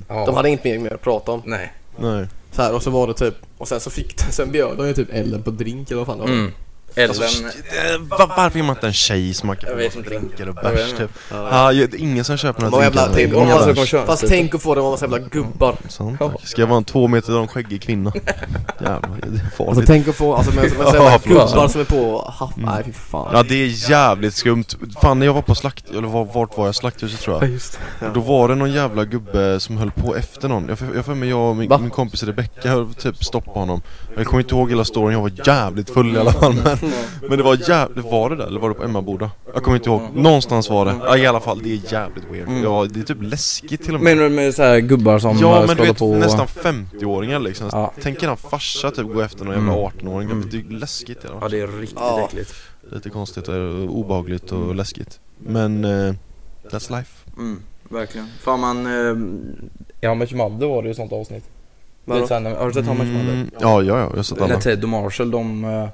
Speaker 2: Ja.
Speaker 3: De hade inget mer, mer att prata om
Speaker 2: Nej
Speaker 1: Nej.
Speaker 3: Så här, och så var det typ, och sen så fick den, sen bjöd de ju typ Ellen på drink eller vad fan det var.
Speaker 2: mm. Ellen,
Speaker 1: Alltså, eh, va- varför är man inte en tjej som man kan
Speaker 2: Jag
Speaker 1: få
Speaker 2: vet
Speaker 1: som
Speaker 2: inte.
Speaker 1: drinkar och
Speaker 2: Jag vet
Speaker 1: bärs
Speaker 2: inte.
Speaker 1: typ? Ja, ju- det är ingen som köper
Speaker 3: Vad
Speaker 1: några
Speaker 3: jävla, typ, tänk,
Speaker 1: drinkar.
Speaker 3: om
Speaker 1: Ingen
Speaker 3: man,
Speaker 1: bärs.
Speaker 2: köra.
Speaker 3: fast tänk att få dem av massa jävla gubbar.
Speaker 1: Sånt, tack. Ska jag vara en två meter lång skäggig kvinna? Jävlar, det är
Speaker 3: Alltså
Speaker 1: farligt.
Speaker 3: tänk att få, alltså med, med, med,
Speaker 1: Ja,
Speaker 3: sådana
Speaker 1: förlåt,
Speaker 3: gubbar
Speaker 1: alltså.
Speaker 3: som är på haff, nej fy fan.
Speaker 1: Ja det är jävligt skumt. Fan när jag var på slakt, eller var, vart var jag? Slakthuset tror jag. Då var det någon jävla gubbe som höll på efter någon. Jag får- jag får med jag och min,
Speaker 3: Va?
Speaker 1: min kompis Rebecka höll typ stoppa honom. Jag kommer inte ihåg hela storyn, jag var jävligt full i alla fall men, men det var jävligt, var det där eller var det på Emmaboda? Jag kommer inte ihåg, någonstans var det. Ja, I alla fall, det är jävligt weird.
Speaker 2: Mm.
Speaker 1: Ja, det är typ läskigt till och med.
Speaker 2: Menar du med så här gubbar som
Speaker 1: Ja
Speaker 2: eh,
Speaker 1: men
Speaker 2: ska
Speaker 1: du
Speaker 2: hålla
Speaker 1: vet
Speaker 2: på och-
Speaker 1: nästan 50-åringar liksom.
Speaker 2: Ja. Mm.
Speaker 1: Tänk er en farsa typ gå efter någon jävla 18-åring. Det är ju läskigt. Eller?
Speaker 2: Ja det är riktigt
Speaker 3: Ja.
Speaker 2: äckligt.
Speaker 1: Lite konstigt och obehagligt och läskigt. Men eh, that's life.
Speaker 2: Mm, verkligen. Fan man... I How Much Mother var det ju ett sånt avsnitt. Det är
Speaker 3: ehm, Vadå?
Speaker 2: så här, när- har du sett How Much Mother?
Speaker 1: Mm, ja, ja, ja, jag har sett
Speaker 2: När
Speaker 1: alla.
Speaker 2: Ted och Marshall de... eh,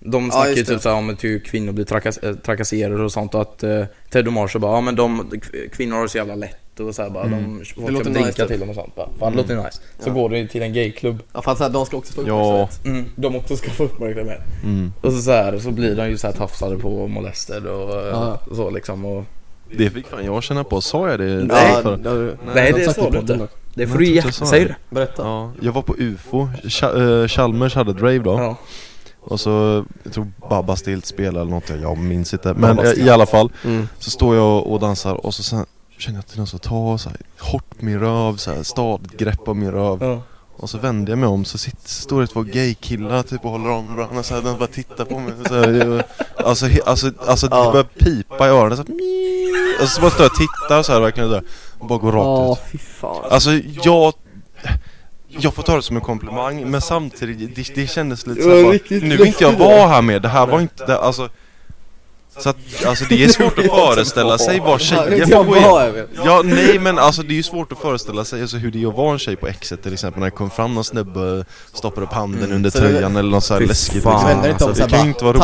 Speaker 2: De snackar ju
Speaker 3: just det.
Speaker 2: typ såhär om att hur kvinnor blir trakas eh, trakasserade och sånt och att eh, Ted och Marshall bara ja men de, kv- kvinnor har det så jävla lätt gott och så här bara,
Speaker 1: Mm.
Speaker 2: de, folk
Speaker 3: låter nice,
Speaker 2: kan blinka
Speaker 3: typ.
Speaker 2: till dem och sånt bara. Fan, det låter nice. Så
Speaker 3: Ja. Mm.
Speaker 2: går du till en gayklubb.
Speaker 3: Ja för att så här, de ska också få
Speaker 1: Ja.
Speaker 3: uppmärksamhet.
Speaker 2: De också ska få uppmärksamhet.
Speaker 1: Mm.
Speaker 2: Och så, så, här, så blir de ju så här tafsade på och molestade och
Speaker 3: Ja.
Speaker 2: och så liksom. Och...
Speaker 1: Det fick fan jag känna på, sa jag det?
Speaker 3: Ja,
Speaker 1: För-
Speaker 3: det har du-
Speaker 2: Nej,
Speaker 3: jag har
Speaker 2: det
Speaker 3: sagt
Speaker 2: sa
Speaker 3: i
Speaker 2: du
Speaker 3: podden
Speaker 2: inte.
Speaker 3: dock.
Speaker 2: Det
Speaker 1: får du ge- säg
Speaker 2: Säg det.
Speaker 3: Berätta.
Speaker 1: Ja, jag var på UFO, Ch- Chalmers hade Drave då
Speaker 2: Ja.
Speaker 1: Och så, jag tror Babba Stilt spelade eller något, jag minns inte Men eh, i alla fall,
Speaker 3: Mm.
Speaker 1: så står jag och dansar och så sen känner jag att det är någon som tar så här, hårt min röv, så här, stadigt grepp om min röv
Speaker 2: Ja.
Speaker 1: Och så vänder jag mig om så sitter, står det två gaykillar typ och håller om varandra så här, de bara tittar på mig så här, och- Alltså, he, alltså, alltså
Speaker 3: Ja.
Speaker 1: det börjar pipa i öronen så här, "Mii." Och så bara står jag och tittar så här verkligen där och bara går rakt ut
Speaker 3: Ja, fy fan.
Speaker 1: Alltså jag... Jag får ta det som en komplimang, men samtidigt, det, det kändes lite såhär bara, Nu vill inte jag vara här med, det här var inte, det, alltså så att, alltså det är svårt att föreställa sig vad tjejer får gå igenom
Speaker 3: jag vet.
Speaker 1: Ja nej men alltså det är ju svårt att föreställa sig alltså, hur det är att vara en tjej på exet till exempel när det kom fram någon snubbe stoppade upp handen under
Speaker 3: Mm. Så det-
Speaker 1: tröjan eller något såhär
Speaker 2: Fy
Speaker 1: läskigt
Speaker 2: fan.
Speaker 1: liksom.
Speaker 3: Det vänder inte
Speaker 1: alltså,
Speaker 3: om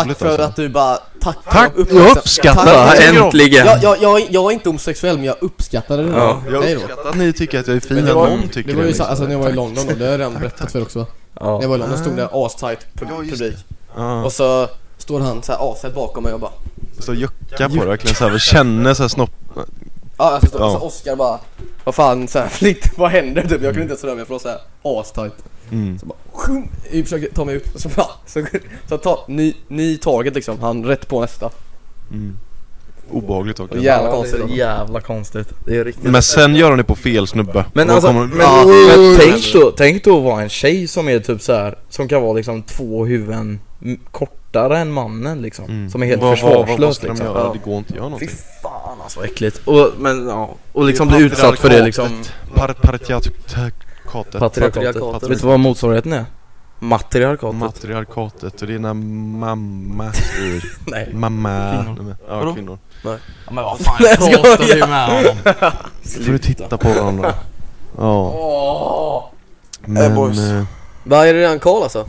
Speaker 1: Det kan ju
Speaker 3: såhär bara,
Speaker 1: inte vara roligt
Speaker 3: tack för
Speaker 1: alltså
Speaker 3: att du bara, tack för
Speaker 1: Tack,
Speaker 3: uppmärksam-
Speaker 1: jag uppskattar
Speaker 3: Tack.
Speaker 1: det.
Speaker 2: Alltså, Äntligen!
Speaker 3: Jag, jag, jag, jag är inte homosexuell men jag uppskattar det
Speaker 2: Ja.
Speaker 1: Jag
Speaker 3: Nej då.
Speaker 1: uppskattar att ni tycker att jag är fin,
Speaker 3: det
Speaker 1: att
Speaker 3: var-
Speaker 1: någon tycker
Speaker 3: Det var
Speaker 1: det
Speaker 3: ju så,
Speaker 1: liksom.
Speaker 3: alltså när jag var i London då, det har jag redan berättat för er också va? När jag var i London stod det astight
Speaker 1: Ja,
Speaker 3: pub-
Speaker 1: just
Speaker 3: publik
Speaker 1: Ja.
Speaker 3: och så står han så här aset bakom mig och bara
Speaker 1: Så jucka på det verkligen såhär, känner såhär snopp...
Speaker 3: Ja, alltså så,
Speaker 1: Ja.
Speaker 3: så Oscar bara Vad fan såhär, flikt, vad händer typ? Jag kunde inte ens röra mig för det var såhär astight
Speaker 1: Mm.
Speaker 3: Så bara, sjum, jag försöker ta mig ut och så bara, så, så ta, ny, ny target liksom, han rätt på nästa
Speaker 1: Mm. Obehagligt
Speaker 3: Och
Speaker 1: verkligen.
Speaker 3: jävla
Speaker 2: det
Speaker 3: konstigt
Speaker 2: är jävla konstigt. Det är riktigt.
Speaker 1: Men sen gör de det på fel snubbe.
Speaker 2: Men
Speaker 1: Då
Speaker 2: alltså,
Speaker 1: kommer- Ah,
Speaker 2: men, men tänk, då, tänk då att vara en tjej som är typ så här, som kan vara liksom två huvuden m- kortare än mannen liksom.
Speaker 1: Mm.
Speaker 2: Som är helt
Speaker 1: Vad- vad-
Speaker 2: försvarslös
Speaker 1: Vad ska de
Speaker 2: liksom.
Speaker 1: göra?
Speaker 2: Ja.
Speaker 1: Det går inte att göra
Speaker 2: Fy
Speaker 1: någonting.
Speaker 2: fan alltså vad äckligt. Och, men, ja, och liksom bli utsatt för det liksom.
Speaker 1: Par- Patriarkatet.
Speaker 2: Patriarkatet. Vet du vad motsvarigheten är? Matriarkatet.
Speaker 1: Matriarkatet. Och det är när mamma styr.
Speaker 2: Nej.
Speaker 1: Mamma.
Speaker 2: Kvinnor.
Speaker 1: Nej, men-
Speaker 2: Vadå?
Speaker 1: Ja, kvinnor.
Speaker 6: Ja, men vad fan pratar du med om?
Speaker 1: Får du titta på varandra. Ja.
Speaker 2: Eh,
Speaker 1: Men...
Speaker 2: boys.
Speaker 1: eh,
Speaker 3: Vad är det redan Karl alltså?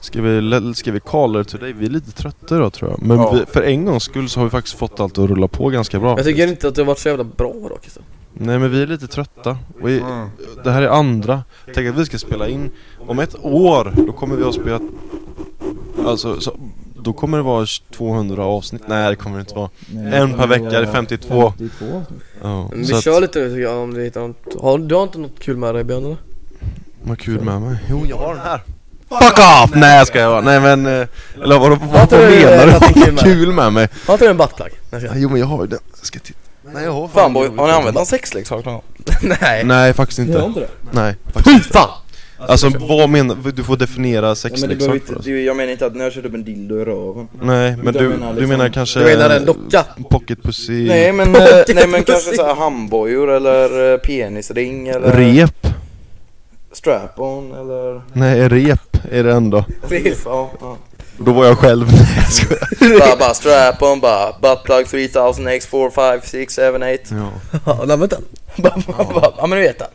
Speaker 1: Ska vi, le- ska vi call it today? Vi är lite trötta idag tror jag. Men
Speaker 2: Ja.
Speaker 1: vi, för en gångs skull så har vi faktiskt fått allt att rulla på ganska bra.
Speaker 3: Jag tycker inte att det har varit så jävla bra dock alltså.
Speaker 1: Nej men vi är lite trötta. Vi,
Speaker 3: Mm.
Speaker 1: Det här är andra. Tänk att vi ska spela in. Om ett år, då kommer vi ha spelat... Alltså, så, då kommer det vara 200 avsnitt. Nej det kommer det inte vara. En per vecka, det är 52.
Speaker 7: 52.
Speaker 1: Ja,
Speaker 3: Men vi
Speaker 1: så att,
Speaker 3: kör lite nu tycker jag om du hittar något har, Du har inte något kul med dig Björn eller?
Speaker 1: vad kul med mig. Jo jag har den här. Fuck off! Nej jag skojar bara. Nej men... eh, Eller vad, vad, vad
Speaker 3: tror du det är
Speaker 1: menar du?
Speaker 3: att det
Speaker 1: Vad
Speaker 3: är kul med?
Speaker 1: kul med mig?
Speaker 3: Har inte du en buttplug? Nej,
Speaker 1: Ja,
Speaker 3: jag ska-
Speaker 1: Jo men jag har ju den. Jag Ska titta. Nej jag har
Speaker 2: Fan boy, har ni använt någon sexleksak någon gång? Nej.
Speaker 1: Nej faktiskt
Speaker 7: Gör
Speaker 1: inte.
Speaker 7: inte det?
Speaker 1: Nej faktiskt inte. Alltså vad menar Du får definiera
Speaker 2: Ja, men du behöver
Speaker 1: sexleksak
Speaker 2: inte,
Speaker 1: för oss.
Speaker 2: du, jag menar inte att ni har kört upp en dildo i röven.
Speaker 1: Nej men
Speaker 2: Utan
Speaker 1: du, du
Speaker 2: menar liksom-
Speaker 1: menar kanske...
Speaker 3: Du menar en docka?
Speaker 1: Pocket pussy,
Speaker 2: Nej men, eh, nej, men kanske såhär handbojor eller eh, penisring eller
Speaker 1: rep.
Speaker 2: strap-on eller...
Speaker 1: Nej rep är det ändå.
Speaker 2: Ja, ja.
Speaker 1: Då var jag själv. Nej jag skojar.
Speaker 2: bara, bara strap-on bara, buttplug 3000 x 4, 5, 6, 7, 8
Speaker 1: Ja.
Speaker 3: Ja, nej vänta
Speaker 2: Bara, bara, bara, Ja men du vet det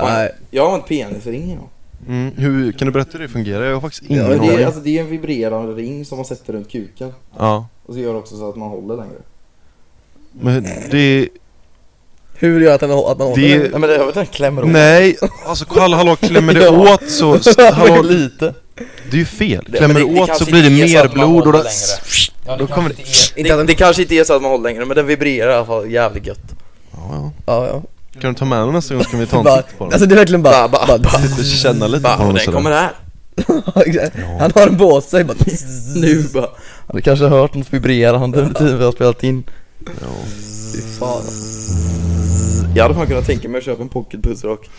Speaker 3: Nej,
Speaker 2: Jag har en penisring idag
Speaker 1: Mm, hur, kan du berätta hur det fungerar? Jag har faktiskt ingen
Speaker 2: ja, det,
Speaker 1: aning.
Speaker 2: är, alltså, det är en vibrerande ring som man sätter runt kuken
Speaker 1: Ja.
Speaker 2: Och så gör det också så att man håller längre
Speaker 1: Men det...
Speaker 3: hur gör jag att, den, att man håller den?
Speaker 1: det
Speaker 2: Nej men det jag vet inte, klämmer åt
Speaker 1: nej! Alltså hallå, hallå klämmer det åt så... s- Hallå,
Speaker 2: lite
Speaker 1: det är ju fel.
Speaker 2: Det-
Speaker 1: Klämmer
Speaker 2: men
Speaker 1: det
Speaker 2: det- det
Speaker 1: åt så
Speaker 2: kanske
Speaker 1: blir det
Speaker 2: inte är så
Speaker 1: mer
Speaker 2: att man
Speaker 1: blod och
Speaker 6: håller
Speaker 1: då...
Speaker 6: Ja,
Speaker 1: Då
Speaker 6: det
Speaker 1: kommer
Speaker 6: kanske
Speaker 1: det-
Speaker 6: inte är...
Speaker 2: det, det, kanske inte är så att man håller längre men den vibrerar i alla fall jävligt gött
Speaker 1: Ja,
Speaker 3: Ja, ja.
Speaker 1: ja. Kan du ta med den nästa gång så kan vi ta en
Speaker 3: Bara,
Speaker 1: titt på den.
Speaker 3: alltså det är verkligen bara, bara, bara,
Speaker 1: Känna lite på
Speaker 2: Bara,
Speaker 1: den
Speaker 2: och
Speaker 1: och
Speaker 2: den
Speaker 1: sådär.
Speaker 2: kommer här
Speaker 3: Han har en bås sig bara
Speaker 2: Nu bara Du kanske har hört något vibrerande under tiden vi har spelat in
Speaker 3: Fan.
Speaker 2: Jag hade fan kunnat tänka mig att köpa en pocketpussrock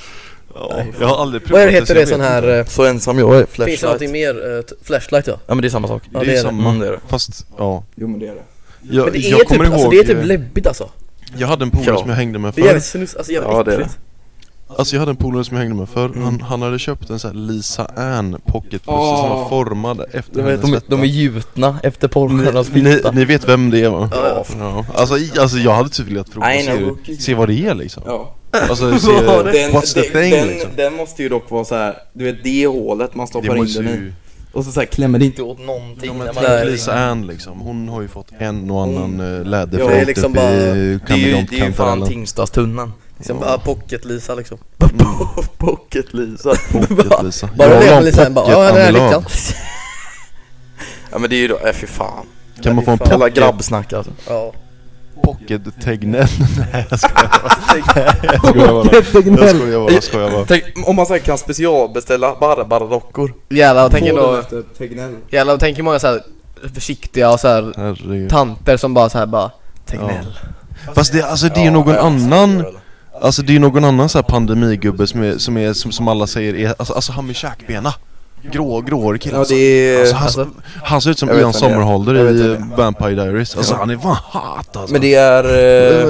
Speaker 1: Ja, jag har aldrig provat
Speaker 3: Vad är det, heter
Speaker 1: så
Speaker 3: det
Speaker 1: jag
Speaker 3: sån
Speaker 1: vet
Speaker 3: här...
Speaker 1: inte.
Speaker 3: eh,
Speaker 2: Så ensam jag är,
Speaker 3: Finns det någonting
Speaker 2: flashlight
Speaker 3: mer? eh, t- flashlight ja.
Speaker 2: Ja men det är samma sak
Speaker 3: Ja,
Speaker 1: Det är ju
Speaker 2: Mm, det är
Speaker 1: samma.
Speaker 2: det.
Speaker 1: Fast, ja.
Speaker 2: Jo men det är det
Speaker 1: Jag,
Speaker 3: Men det är,
Speaker 1: jag
Speaker 3: typ,
Speaker 1: kommer ihåg...
Speaker 3: alltså, det är typ
Speaker 1: eh,
Speaker 3: läbbigt alltså.
Speaker 1: Jag hade en polare
Speaker 2: Ja.
Speaker 1: som jag hängde med
Speaker 3: Det är
Speaker 1: förr
Speaker 3: jävligt snus, alltså jävligt
Speaker 2: Ja, det är det.
Speaker 3: äckligt.
Speaker 1: Alltså jag hade en polare som jag hängde med förr han, han hade köpt en sån här Lisa Ann pocketpussy som var formad efter
Speaker 2: De, är-
Speaker 1: hennes
Speaker 2: de, är-
Speaker 1: fetta.
Speaker 2: de är gjutna efter porrstjärnans
Speaker 1: ni,
Speaker 2: fitta.
Speaker 1: ni vet vem det är va?
Speaker 3: Ja,
Speaker 1: ja. Alltså, i- alltså jag hade typ velat prova
Speaker 2: I
Speaker 1: se,
Speaker 2: know.
Speaker 1: hur- se vad det är liksom
Speaker 2: Ja.
Speaker 1: Alltså se,
Speaker 2: Den,
Speaker 1: what's the
Speaker 2: den,
Speaker 1: thing
Speaker 2: den,
Speaker 1: liksom
Speaker 2: den måste ju dock vara så här. du vet det hålet man
Speaker 1: Det
Speaker 2: stoppar in
Speaker 1: måste
Speaker 2: den i.
Speaker 1: ju
Speaker 2: Och så, så här, klämmer det inte åt någonting
Speaker 1: Ja,
Speaker 3: typ
Speaker 1: men
Speaker 2: när
Speaker 1: tänk
Speaker 2: man
Speaker 1: Lisa Ann liksom, hon har ju fått en och annan mm. läderfot
Speaker 2: Ja, det är
Speaker 3: liksom
Speaker 1: uppe
Speaker 3: bara-
Speaker 1: i
Speaker 2: Det är ju, det är ju fan
Speaker 1: kameleontkantarellen
Speaker 2: Tingstadstunneln.
Speaker 3: Liksom bara pocket-Lisa liksom.
Speaker 2: Pocket-Lisa.
Speaker 1: Pocket Lisa
Speaker 3: Bara
Speaker 1: Jag
Speaker 3: det,
Speaker 1: la en
Speaker 3: men liksom bara, ja den här
Speaker 1: pocket-andelan.
Speaker 3: lyckan.
Speaker 2: Ja men det är ju då, äh, fy fan.
Speaker 1: Kan man få en
Speaker 3: Fan.
Speaker 2: Jävla
Speaker 1: pocket,
Speaker 2: grabbsnack alltså.
Speaker 3: Ja.
Speaker 1: pocket Tegnell? Nej jag skojar bara Jag skojar bara, jag
Speaker 7: Tegnell.
Speaker 1: skojar bara, jag skojar bara.
Speaker 2: Tänk om man så här kan specialbeställa bara barbarockor.
Speaker 3: Jävlar, tänk
Speaker 2: den
Speaker 3: ändå, jävlar, tänk hur många så här försiktiga och så här
Speaker 1: Herregud
Speaker 3: tanter som bara så här bara Tegnell.
Speaker 1: Fast det, alltså, det är ju någon annan Alltså det är ju någon annan så här pandemigubbe som är, som, är, som, som alla säger är, alltså, alltså han med käkbena Grå, gråhårig kille
Speaker 2: Ja det är...
Speaker 1: Alltså, han, han ser ut som
Speaker 2: Jag vet
Speaker 1: Ian
Speaker 2: vem det är.
Speaker 1: Sommerhalder
Speaker 2: Jag vet
Speaker 1: i
Speaker 2: vem det
Speaker 1: eh, Vampire Diaries Alltså han är fan hot alltså
Speaker 2: men det är...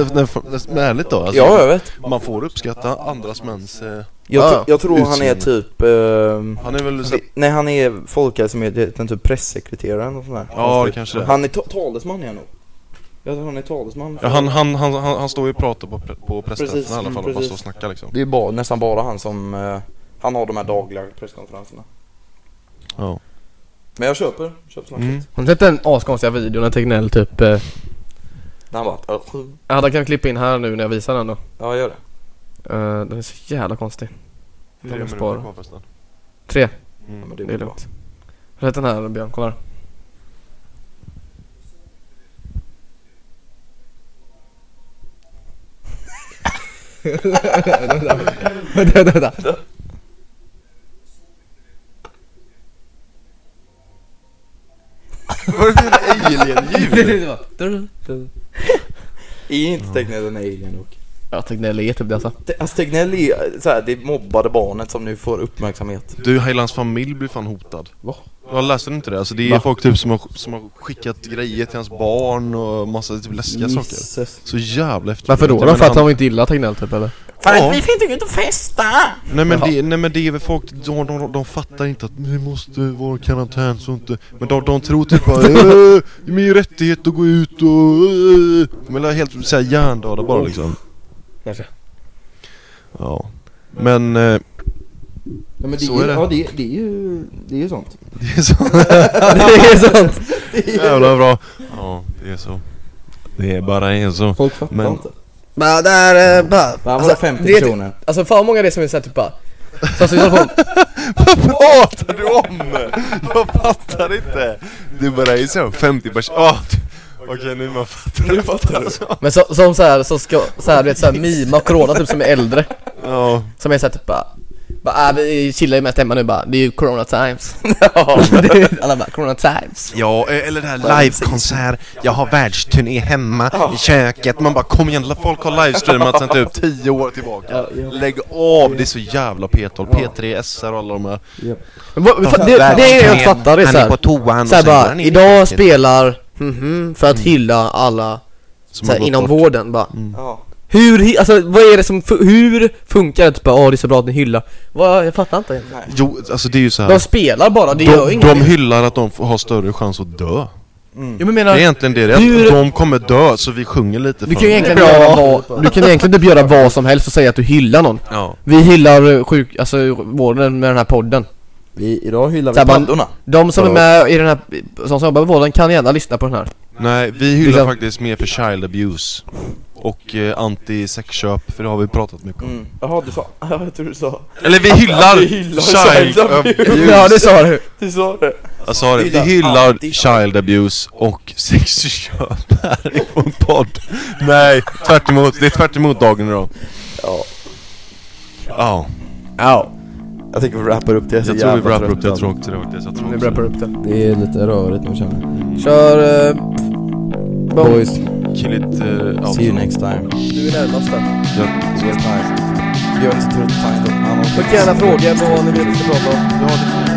Speaker 2: Eh,
Speaker 1: Men- men- Men ärligt då, alltså,
Speaker 2: ja jag vet.
Speaker 1: man får uppskatta andras mäns... Eh,
Speaker 2: Jag,
Speaker 3: Ja,
Speaker 2: tr- jag tror han är
Speaker 1: utseende.
Speaker 2: typ... Eh,
Speaker 1: han är väl... Så,
Speaker 2: vi- nej han är folkhälsomyndigheten, typ pressekreteraren och sådär.
Speaker 1: ja, det kanske det är.
Speaker 2: Han är ta- talesman är han nog. Jag tror han är talesman.
Speaker 1: Ja, han, han, han, han, han står ju och pratar på, pre- på
Speaker 2: Precis,
Speaker 1: pressträffarna i alla fall och bara
Speaker 2: precis.
Speaker 1: står och snackar liksom
Speaker 2: Det är bara, nästan bara han som... Eh, han har de här dagliga presskonferenserna.
Speaker 1: Ja.
Speaker 2: Men jag köper, köper snacket.
Speaker 1: Mm.
Speaker 3: Har ni sett den askonstiga videon när Tegnell typ eh,
Speaker 2: När han bara... "Ugh."
Speaker 3: Ja, den kan jag klippa in här nu när jag visar den då.
Speaker 2: Ja gör det.
Speaker 3: Eh, den är så jävla konstig.
Speaker 1: Hur är det
Speaker 3: Jag
Speaker 1: med
Speaker 3: spara.
Speaker 1: minuter kvar förresten?
Speaker 3: Tre,
Speaker 2: Ja, men
Speaker 1: Mm.
Speaker 2: det är,
Speaker 3: det är
Speaker 2: väl bra.
Speaker 3: lugnt. Har du sett den här Björn? Kolla här. vänta, vänta, vänta.
Speaker 1: Var det ett alien-ljud?
Speaker 2: Är inte Tegnell en alien dock?
Speaker 3: Ja, Tegnell är typ det alltså.
Speaker 2: Te- Alltså Tegnell är såhär, det mobbade barnet som nu får uppmärksamhet.
Speaker 1: Du, hela hans familj blir fan hotad
Speaker 2: Va?
Speaker 1: Ja, läste du inte det? Alltså det är folk typ som har, som har skickat grejer till hans barn och massa typ läskiga saker Så jävla efterblivet
Speaker 3: Varför då?
Speaker 1: Jag menar,
Speaker 3: För att
Speaker 1: han-
Speaker 3: de inte gillar Tegnell typ eller?
Speaker 1: Ja.
Speaker 2: fick inte ut och festa!
Speaker 1: Nej men, det, nej men det är väl folk, de, de, de fattar inte att vi måste vara i karantän så inte Men de, de tror typ bara "Eh, det är min rättighet att gå ut och eh." De är helt såhär hjärndöda bara liksom
Speaker 3: Kanske.
Speaker 1: Ja Men, eh,
Speaker 2: Ja, men det
Speaker 1: Så är det.
Speaker 2: Ja det, det är ju, det är ju sånt.
Speaker 1: det är så
Speaker 3: det är sant!
Speaker 1: jävla bra Ja, det är så Det är bara är så
Speaker 2: Folk fattar
Speaker 1: Men-
Speaker 2: inte.
Speaker 3: Men där, eh, bara...
Speaker 2: Han var
Speaker 3: alltså,
Speaker 2: 50
Speaker 3: det är-
Speaker 2: personer.
Speaker 3: Alltså fan vad många det är som är såhär typ bara... Som sitter på...
Speaker 1: pratar du om? Jag fattar inte! Det bara är så, 50 pers... Ah, Okej nu man fattar Nu fattar du
Speaker 3: Men så, som såhär, som ska, såhär du vet såhär mima och corona typ som är äldre.
Speaker 1: Ja,
Speaker 3: Som är såhär typ bara, bara äh, vi chillar ju mest hemma nu bara, det är ju corona times. Alla bara, corona times.
Speaker 5: Ja, eh, eller det här livekonsert. Jag har världsturné hemma i köket. Man bara kom igen, la- folk har livestreamat sen typ
Speaker 1: 10 år tillbaka Lägg av, det är så jävla P12, P3, SR och alla de här
Speaker 3: Men vad- fan, Det, det är det jag inte fattar, det
Speaker 5: Alltså, Han
Speaker 3: är
Speaker 5: är
Speaker 3: såhär,
Speaker 5: på toan och
Speaker 3: såhär
Speaker 5: sen går
Speaker 3: bara,
Speaker 5: han in i Mm.
Speaker 3: idag
Speaker 5: köket.
Speaker 3: spelar mhm för att hylla alla
Speaker 1: som har
Speaker 3: såhär,
Speaker 1: gått
Speaker 3: inom
Speaker 1: bort.
Speaker 3: vården bara.
Speaker 2: Ja.
Speaker 3: Hur, hi- alltså vad är det som, fu- hur funkar det? Typ bara, åh det är så bra att ni hyllar. Vad, jag fattar inte.
Speaker 1: Jo, alltså det är ju så
Speaker 3: De
Speaker 1: här.
Speaker 3: spelar bara, det gör
Speaker 1: De, de
Speaker 3: ingenting.
Speaker 1: hyllar att de får- har större chans att dö
Speaker 3: Jo men
Speaker 1: Det är
Speaker 3: menar,
Speaker 1: egentligen det, det är
Speaker 3: Hur-
Speaker 1: att de kommer dö så vi sjunger lite
Speaker 3: du
Speaker 1: för
Speaker 3: kan ju
Speaker 1: dem.
Speaker 3: egentligen göra vad, du kan ju egentligen typ göra vad som helst och säga att du hyllar någon.
Speaker 1: Ja,
Speaker 3: Vi hyllar eh, sjuk, alltså vården med den här podden.
Speaker 2: Vi, idag hyllar vi
Speaker 3: Så här, man-
Speaker 2: paddorna.
Speaker 3: De som är med i den här, de som jobbar med vården kan gärna lyssna på den här.
Speaker 1: nej vi hyllar
Speaker 3: Liksom-
Speaker 1: faktiskt mer för child abuse Och eh, anti-sexköp, för det har vi pratat mycket om
Speaker 2: Mm. Jaha du sa, ja, jag tror du sa.
Speaker 1: Eller vi hyllar,
Speaker 2: Vi hyllar
Speaker 1: child
Speaker 2: child abuse.
Speaker 1: abuse! Alltså,
Speaker 3: Ja det sa du!
Speaker 2: Du sa det.
Speaker 1: Jag sa det, vi
Speaker 2: Hyllar
Speaker 1: hyllar
Speaker 2: alltid.
Speaker 1: child abuse och sexköp här i vår podd Nej, tvärt emot, det är tvärt emot dagen idag
Speaker 2: Ja.
Speaker 1: Ja,
Speaker 2: Ja. Jag tycker vi rappar upp det.
Speaker 1: jag tror vi wrappar upp det, jag tror också det faktiskt, jag tror också det
Speaker 3: upp det.
Speaker 2: Det är lite rörigt nu känner jag.
Speaker 3: Kör... eh,
Speaker 2: Boys,
Speaker 1: Kill it, uh,
Speaker 2: see you next time.
Speaker 3: Du är närmast där.
Speaker 2: Yes, nice. Björn är så trött på tanken. Han har-
Speaker 3: Skicka gärna frågor på vad ni vill att vi ska prata om.
Speaker 1: Ja, det